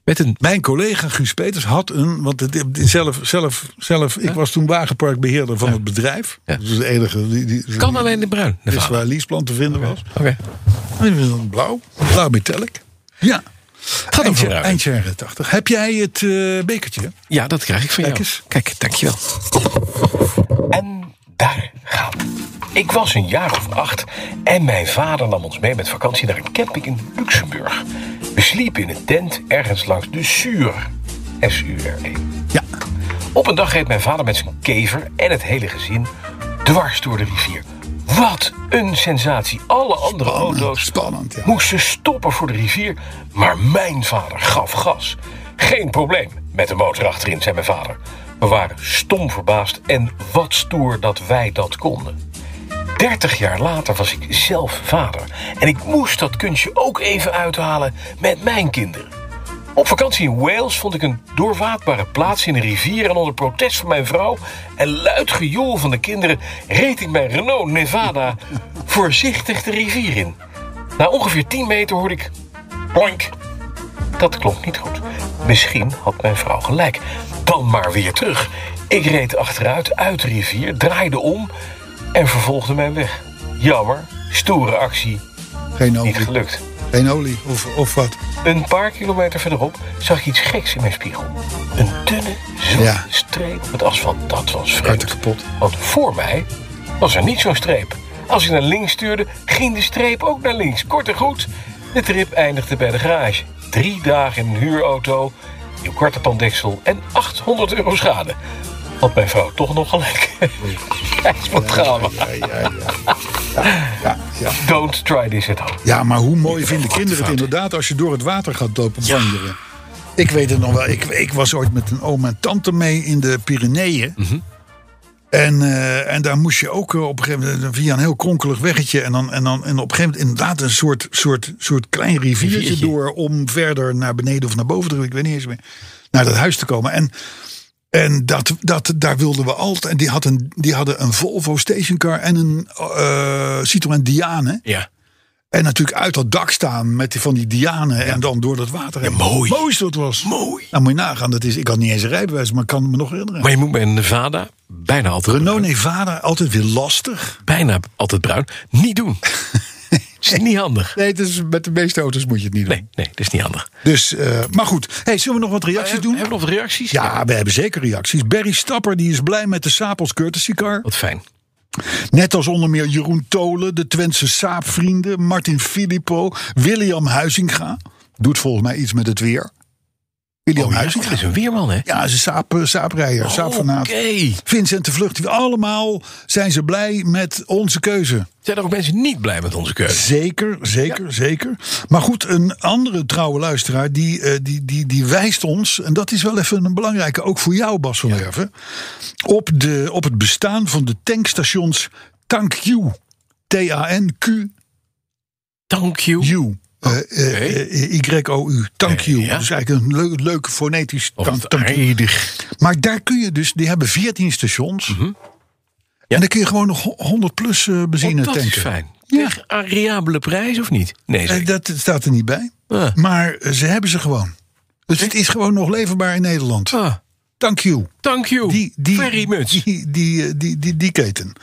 [SPEAKER 2] Met een...
[SPEAKER 3] Mijn collega Guus Peters had een, want het, het- zelf, zelf, zelf ik was toen wagenparkbeheerder van het bedrijf.
[SPEAKER 2] Ja.
[SPEAKER 3] Dat is de enige die, die,
[SPEAKER 2] Kan alleen in bruin. de
[SPEAKER 3] die- is
[SPEAKER 2] vader.
[SPEAKER 3] waar leaseplan te vinden was.
[SPEAKER 2] Oké.
[SPEAKER 3] En die was dan blauw, blauw metallic. Ja,
[SPEAKER 2] Gaat hem
[SPEAKER 3] eind,
[SPEAKER 2] vooruit.
[SPEAKER 3] eind jaren 80. Heb jij het eh, bekertje?
[SPEAKER 2] Ja, dat krijg ik van
[SPEAKER 3] Kijk
[SPEAKER 2] jou.
[SPEAKER 3] eens.
[SPEAKER 2] Kijk, dankjewel. En daar gaat het. Ik was een jaar of acht en mijn vader nam ons mee met vakantie naar een camping in Luxemburg. We sliepen in een tent ergens langs de Suur. S-U-R-E.
[SPEAKER 3] Ja.
[SPEAKER 2] E. Op een dag reed mijn vader met zijn kever en het hele gezin dwars door de rivier. Wat een sensatie. Alle andere
[SPEAKER 3] Spannend,
[SPEAKER 2] auto's
[SPEAKER 3] spannend, ja.
[SPEAKER 2] moesten stoppen voor de rivier. Maar mijn vader gaf gas. Geen probleem met de motor achterin, zei mijn vader. We waren stom verbaasd en wat stoer dat wij dat konden. 30 jaar later was ik zelf vader. En ik moest dat kunstje ook even uithalen met mijn kinderen. Op vakantie in Wales vond ik een doorwaadbare plaats in een rivier... en onder protest van mijn vrouw en luid gejoel van de kinderen... reed ik mijn Renault Nevada voorzichtig de rivier in. Na ongeveer 10 meter hoorde ik... Plonk. Dat klonk niet goed. Misschien had mijn vrouw gelijk. Dan maar weer terug. Ik reed achteruit uit de rivier, draaide om en vervolgde mijn weg. Jammer, stoere actie,
[SPEAKER 3] Geen
[SPEAKER 2] niet
[SPEAKER 3] olie.
[SPEAKER 2] gelukt.
[SPEAKER 3] Geen olie of, of wat.
[SPEAKER 2] Een paar kilometer verderop zag ik iets geks in mijn spiegel. Een dunne, zwarte
[SPEAKER 3] Ja.
[SPEAKER 2] streep op het asfalt. Dat was vreemd.
[SPEAKER 3] Karten kapot.
[SPEAKER 2] Want voor mij was er niet zo'n streep. Als ik naar links stuurde, ging de streep ook naar links. Kort en goed, de trip eindigde bij de garage. Drie dagen in een huurauto, een korte pandeksel en 800 euro schade. Had mijn vrouw toch nog gelijk. Kijk, wat gaan we.
[SPEAKER 3] Ja, ja, ja. Ja, ja, ja.
[SPEAKER 2] Don't try this at home.
[SPEAKER 3] Ja, maar hoe mooi vinden kinderen het inderdaad als je door het water gaat lopen banjeren. Ik weet het nog wel. Ik, ik was ooit met een oom en tante mee in de Pyreneeën. En, eh, en daar moest je ook eh, op een gegeven moment via een heel kronkelig weggetje. En, dan, en, dan, en op een gegeven moment inderdaad een soort, soort, soort klein riviertje,
[SPEAKER 2] Riviertje.
[SPEAKER 3] door. Om verder naar beneden of naar boven te Ik weet niet eens meer. Naar dat huis te komen. En, en dat, dat, daar wilden we altijd. En die, had een, die hadden een Volvo stationcar en een eh Citroën Diane.
[SPEAKER 2] Ja.
[SPEAKER 3] En natuurlijk uit dat dak staan met die, van die dianen en dan door dat water. heen.
[SPEAKER 2] mooi.
[SPEAKER 3] Mooi is dat was.
[SPEAKER 2] Mooi.
[SPEAKER 3] Nou, moet je nagaan. Dat is, ik had niet eens een rijbewijs, maar ik kan het me nog herinneren.
[SPEAKER 2] Maar je moet bij een Nevada bijna altijd
[SPEAKER 3] Renault Nevada, altijd weer lastig.
[SPEAKER 2] bijna altijd bruin. Niet doen. Het is niet handig.
[SPEAKER 3] Nee, dus met de meeste auto's moet je het niet doen.
[SPEAKER 2] Nee, nee, dat is niet handig.
[SPEAKER 3] Dus, eh, maar goed. Hey, zullen we nog wat reacties doen?
[SPEAKER 2] Hebben we nog reacties?
[SPEAKER 3] Ja, we hebben zeker reacties. Barry Stapper die is blij met de Sapels Courtesy Car.
[SPEAKER 2] Wat fijn.
[SPEAKER 3] Net als onder meer Jeroen Tolen, de Twentse Saapvrienden, Martin Filippo, William Huizinga. Doet volgens mij iets met het weer. William
[SPEAKER 2] Oh, ja,
[SPEAKER 3] Huizinga.
[SPEAKER 2] dat is een weerman, hè?
[SPEAKER 3] Ja, ze is een saap, eh, saaprijder, saapfanaat.
[SPEAKER 2] Oh, Oké.
[SPEAKER 3] Vincent de Vlucht, die- allemaal zijn ze blij met onze keuze.
[SPEAKER 2] Zijn er ook mensen niet blij met onze keuze?
[SPEAKER 3] Zeker, zeker, zeker. Maar goed, een andere trouwe luisteraar die, eh, die, die, die wijst ons, en dat is wel even een belangrijke, ook voor jou Bas van Werven, op, de, op het bestaan van de tankstations Tank Q. T-A-N-Q
[SPEAKER 2] Thank you. Oh,
[SPEAKER 3] U. eh, eh, eh, Y-O-U, Tank
[SPEAKER 2] Eh,
[SPEAKER 3] U.
[SPEAKER 2] ja.
[SPEAKER 3] Dus eigenlijk een leu- leuke fonetisch
[SPEAKER 2] Of
[SPEAKER 3] tank,
[SPEAKER 2] het
[SPEAKER 3] Tank U.
[SPEAKER 2] aardig. Mhm.
[SPEAKER 3] Maar daar kun je dus, die hebben 14 stations. En dan kun je gewoon nog 100 plus eh, benzine
[SPEAKER 2] Oh, dat is
[SPEAKER 3] tanken.
[SPEAKER 2] fijn.
[SPEAKER 3] Ja.
[SPEAKER 2] Tegen ariabele prijs of niet? Nee,
[SPEAKER 3] Eh,
[SPEAKER 2] zeker.
[SPEAKER 3] dat staat er niet bij.
[SPEAKER 2] Ah.
[SPEAKER 3] Maar eh, ze hebben ze gewoon. Dus het is gewoon nog leverbaar in Nederland.
[SPEAKER 2] Ah,
[SPEAKER 3] Thank you.
[SPEAKER 2] thank you.
[SPEAKER 3] Die, die,
[SPEAKER 2] Very much.
[SPEAKER 3] Die, die, eh, die, die, die keten.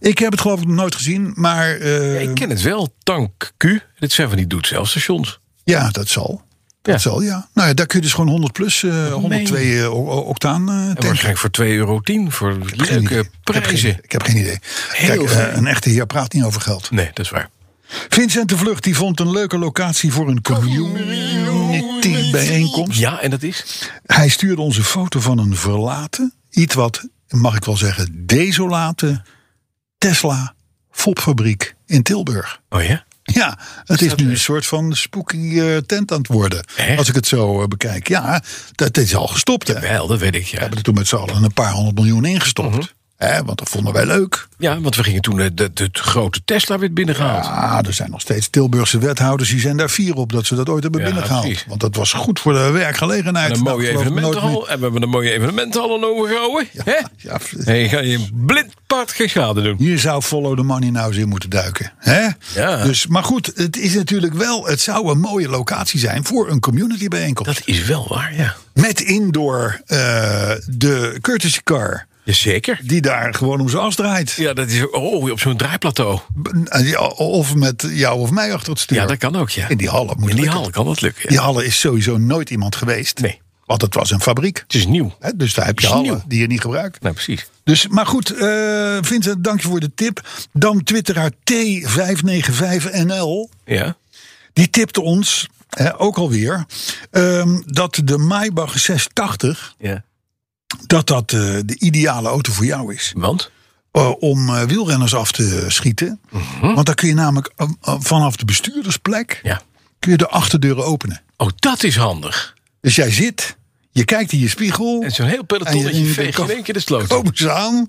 [SPEAKER 3] Ik heb het geloof ik nog nooit gezien, maar eh,
[SPEAKER 2] ik
[SPEAKER 3] ja,
[SPEAKER 2] ken het wel. Tank Q. Dit zijn van die doet zelf stations.
[SPEAKER 3] dat zal.
[SPEAKER 2] Ja.
[SPEAKER 3] Dat zal, ja. Nou ja, daar kun je dus gewoon 100 plus, eh, 102 eh, o- o- octaan eh,
[SPEAKER 2] En
[SPEAKER 3] tanken.
[SPEAKER 2] waarschijnlijk voor 2,10 euro voor
[SPEAKER 3] Geen idee.
[SPEAKER 2] leuke
[SPEAKER 3] Ik heb geen idee.
[SPEAKER 2] prijzen.
[SPEAKER 3] Ik heb geen idee.
[SPEAKER 2] Heel
[SPEAKER 3] Kijk,
[SPEAKER 2] fijn.
[SPEAKER 3] eh, een echte heer praat niet over geld.
[SPEAKER 2] Nee, dat is waar.
[SPEAKER 3] Vincent de Vlucht die vond een leuke locatie voor een community bijeenkomst.
[SPEAKER 2] Ja, en dat is?
[SPEAKER 3] Hij stuurde ons een foto van een verlaten, iets wat, mag ik wel zeggen, desolate Tesla fopfabriek in Tilburg.
[SPEAKER 2] Oh ja?
[SPEAKER 3] Ja, het is nu een soort van spooky eh, tent aan het worden.
[SPEAKER 2] Echt?
[SPEAKER 3] Als ik het zo eh, bekijk. Ja, dat is al gestopt. Hè? We
[SPEAKER 2] Wel, Mhm. dat weet ik, ja.
[SPEAKER 3] hebben er toen met z'n allen een paar honderd miljoen ingestopt. Hè, want dat vonden wij leuk.
[SPEAKER 2] Ja, want we gingen toen eh, de, de grote Tesla werd binnengehaald.
[SPEAKER 3] Ah, er zijn nog steeds Tilburgse wethouders die zijn daar fier op dat ze dat ooit hebben
[SPEAKER 2] Ja,
[SPEAKER 3] binnengehaald.
[SPEAKER 2] precies.
[SPEAKER 3] Want dat was goed voor de werkgelegenheid.
[SPEAKER 2] En een
[SPEAKER 3] Nou,
[SPEAKER 2] mooie
[SPEAKER 3] geloof ik nooit
[SPEAKER 2] evenementenhal. En we hebben een mooie evenementenhal aan overgehouden.
[SPEAKER 3] meer.
[SPEAKER 2] hè?
[SPEAKER 3] Ja, ja,
[SPEAKER 2] En je gaat je blind paard geen schade doen.
[SPEAKER 3] Hier zou Follow the Money nou eens in moeten duiken. Hè?
[SPEAKER 2] Ja.
[SPEAKER 3] Dus, maar goed, het is natuurlijk wel, het zou een mooie locatie zijn voor een community bijeenkomst.
[SPEAKER 2] Dat is wel waar, ja.
[SPEAKER 3] Met indoor eh, de courtesy car.
[SPEAKER 2] Jazeker.
[SPEAKER 3] Die daar gewoon om zijn as draait.
[SPEAKER 2] Ja, dat is oh, op zo'n draaiplateau.
[SPEAKER 3] Of met jou of mij achter het stuur.
[SPEAKER 2] Ja, dat kan ook, ja.
[SPEAKER 3] In die hallen moet
[SPEAKER 2] In die
[SPEAKER 3] lukken.
[SPEAKER 2] hal kan dat lukken. ja.
[SPEAKER 3] Die hallen is sowieso nooit iemand geweest.
[SPEAKER 2] Nee.
[SPEAKER 3] Want het was een fabriek.
[SPEAKER 2] Het is nieuw.
[SPEAKER 3] Hè, dus daar heb je
[SPEAKER 2] Is
[SPEAKER 3] hallen
[SPEAKER 2] nieuw.
[SPEAKER 3] die je niet gebruikt.
[SPEAKER 2] Nou, precies.
[SPEAKER 3] Dus, maar goed, eh Vincent, dank je voor de tip. Dan twitteraar T595NL.
[SPEAKER 2] Ja.
[SPEAKER 3] Die tipte ons, hè, ook alweer, ehm, dat de Maybach 680...
[SPEAKER 2] ja.
[SPEAKER 3] dat dat eh, de ideale auto voor jou is.
[SPEAKER 2] Want?
[SPEAKER 3] Eh, om eh, wielrenners af te schieten. Want dan kun je namelijk eh, eh, vanaf de bestuurdersplek...
[SPEAKER 2] Mhm. Ja.
[SPEAKER 3] kun je de achterdeuren openen.
[SPEAKER 2] Oh, dat is handig.
[SPEAKER 3] Dus jij zit, je kijkt in je spiegel...
[SPEAKER 2] En zo'n heel
[SPEAKER 3] En je-
[SPEAKER 2] pelotonnetje
[SPEAKER 3] je-
[SPEAKER 2] veeg je Oh. in één keer de sloot. op.
[SPEAKER 3] komen ze aan.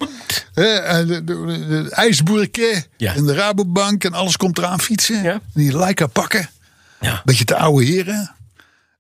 [SPEAKER 3] Hè, en de, de, de- de ijsboerke
[SPEAKER 2] Ja.
[SPEAKER 3] en de Rabobank en alles komt eraan fietsen.
[SPEAKER 2] Ja.
[SPEAKER 3] Die Leica pakken.
[SPEAKER 2] Ja.
[SPEAKER 3] Beetje te oude heren.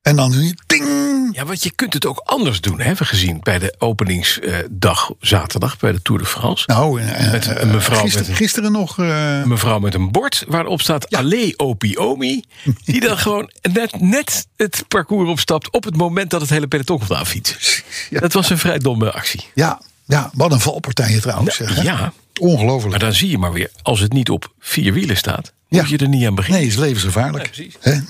[SPEAKER 3] En dan ting.
[SPEAKER 2] Ja, want je kunt het ook anders doen, hebben we gezien bij de openingsdag eh, zaterdag bij de Tour de France.
[SPEAKER 3] Nou, eh,
[SPEAKER 2] Met een
[SPEAKER 3] eh,
[SPEAKER 2] mevrouw
[SPEAKER 3] gister-
[SPEAKER 2] met een-
[SPEAKER 3] gisteren nog. eh,
[SPEAKER 2] Een mevrouw met een bord waarop staat Allee Opie Omi. Die dan gewoon net, net het parcours opstapt op het moment dat het hele peloton komt aanfietsen.
[SPEAKER 3] Ja.
[SPEAKER 2] Dat was een vrij domme actie. Nou,
[SPEAKER 3] ja, ja, wat een valpartijen trouwens. zeg, hè?
[SPEAKER 2] Ja, maar
[SPEAKER 3] Ongelooflijk.
[SPEAKER 2] dan zie je maar weer, als het niet op vier wielen staat,
[SPEAKER 3] Ja.
[SPEAKER 2] moet je er niet aan beginnen.
[SPEAKER 3] Nee, is levensgevaarlijk.
[SPEAKER 2] Nee, precies.
[SPEAKER 3] Hè,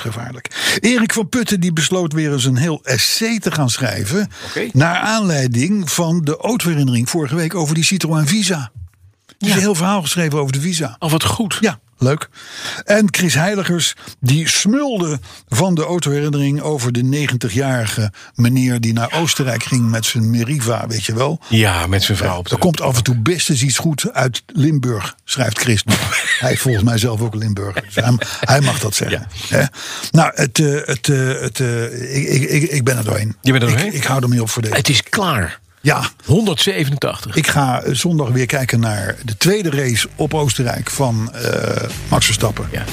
[SPEAKER 3] levensgevaarlijk. Erik van Putten die besloot weer eens een heel essay te gaan schrijven.
[SPEAKER 2] Oké.
[SPEAKER 3] Naar aanleiding van de autoherinnering vorige week over die Citroën Visa. Die is een heel verhaal geschreven over de Visa.
[SPEAKER 2] Al wat goed.
[SPEAKER 3] Ja, leuk. En Chris Heiligers, die smulde van de autoherinnering over de 90-jarige meneer die naar Oostenrijk ging met zijn Meriva, weet je wel.
[SPEAKER 2] Ja, met zijn vrouw op de
[SPEAKER 3] Er komt af en toe best eens iets goed uit Limburg, schrijft Chris. nog. hij is volgens mij zelf ook Limburger. Dus hij, hij mag dat zeggen. Hè? Nou, het, eh, het, eh, het, eh, ik, ik, ik, ik ben er doorheen.
[SPEAKER 2] Je bent er
[SPEAKER 3] Ik-
[SPEAKER 2] doorheen?
[SPEAKER 3] Ik, hou ermee op voor deze.
[SPEAKER 2] Het is klaar.
[SPEAKER 3] Ja,
[SPEAKER 2] 187.
[SPEAKER 3] ik ga eh, zondag weer kijken naar de tweede race op Oostenrijk van eh, Max Verstappen.
[SPEAKER 2] Ja.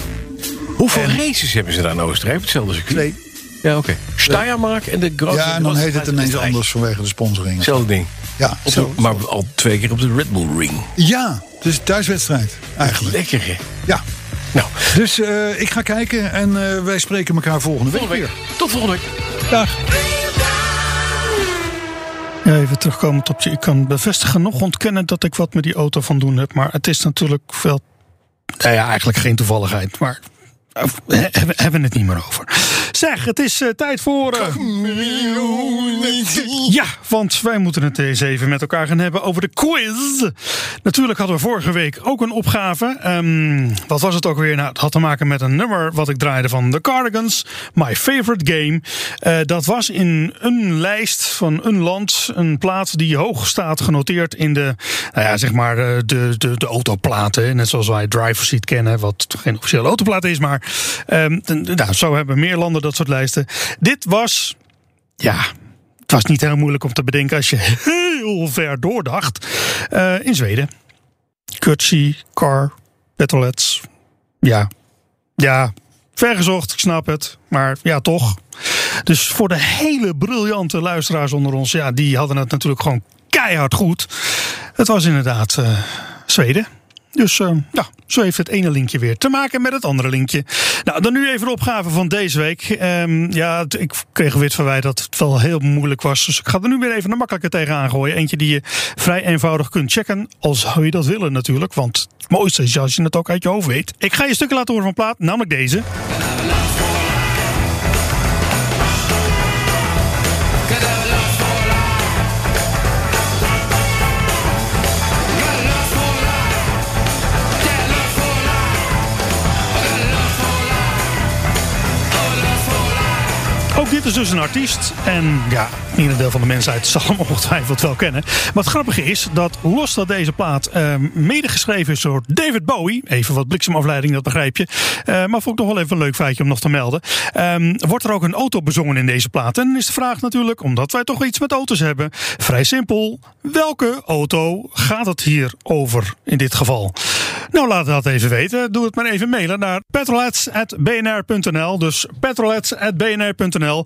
[SPEAKER 2] Hoeveel races hebben ze daar in Oostenrijk? op Hetzelfde circuit.
[SPEAKER 3] Eh. Twee.
[SPEAKER 2] Ja, oké. Steiermark en de Grote.
[SPEAKER 3] Ja, en dan heet het ineens anders vanwege de sponsoring.
[SPEAKER 2] Hetzelfde ding.
[SPEAKER 3] Ja,
[SPEAKER 2] Op
[SPEAKER 3] zo.
[SPEAKER 2] de- maar al twee keer op de Red Bull Ring.
[SPEAKER 3] ja, het is een thuiswedstrijd eigenlijk.
[SPEAKER 2] Lekker, hè?
[SPEAKER 3] Ja.
[SPEAKER 2] Nou,
[SPEAKER 3] Dus eh, ik ga kijken en eh, wij spreken elkaar volgende week
[SPEAKER 2] volgende
[SPEAKER 3] weer.
[SPEAKER 2] week. Tot volgende week.
[SPEAKER 3] Dag.
[SPEAKER 4] Ja, even terugkomend op je. Ik kan bevestigen, nog ontkennen dat ik wat met die auto van doen heb. Maar het is natuurlijk veel. Nou ja, eigenlijk geen toevalligheid. Maar eh, he- hebben hebben we het niet meer over. Zeg, het is eh, tijd voor. eh, ja, want wij moeten het eens even met elkaar gaan hebben over de quiz. Natuurlijk hadden we vorige week ook een opgave. Ehm, wat was het ook weer? Nou, het had te maken met een nummer wat ik draaide van The Cardigans. My favorite game. Eh, dat was in een lijst van een land, een plaat die hoog staat genoteerd in de, nou ja, zeg maar, eh, de, de, de autoplaten. Net zoals wij Driver Seat kennen, wat geen officiële autoplaat is. Maar ehm, de- de- nou, zo hebben meer landen dat soort lijsten. Dit was, ja, het was niet heel moeilijk om te bedenken als je heel ver doordacht. Eh, in Zweden. Kutsi, Car, Petrolets. Ja. Ja. Vergezocht, ik snap het. Maar ja, toch. Dus voor de hele briljante luisteraars onder ons, ja, die hadden het natuurlijk gewoon keihard goed. Het was inderdaad eh, Zweden. Dus eh, ja, zo heeft het ene linkje weer te maken met het andere linkje. Nou, dan nu even de opgave van deze week. Ehm, ja, t- ik kreeg wit verwijt dat het wel heel moeilijk was. Dus ik ga er nu weer even een makkelijke tegenaan gooien. Eentje die je vrij eenvoudig kunt checken. Als zou je dat willen natuurlijk. Want het mooiste is als je het ook uit je hoofd weet. Ik ga je stukken laten horen van plaat, namelijk deze. Ook dit is dus een artiest. En ja, ieder deel van de mensheid zal hem ongetwijfeld wel kennen. Maar het grappige is dat, los dat deze plaat eh, medegeschreven is door David Bowie. Even wat bliksemafleiding, dat begrijp je. Eh, maar vond ik nog wel even een leuk feitje om nog te melden. Ehm, wordt er ook een auto bezongen in deze plaat? En dan is de vraag natuurlijk, omdat wij toch iets met auto's hebben. Vrij simpel. Welke auto gaat het hier over in dit geval? Nou, laat dat even weten. Doe het maar even mailen naar petrolets.bnr.nl. Dus petrolets.bnr.nl.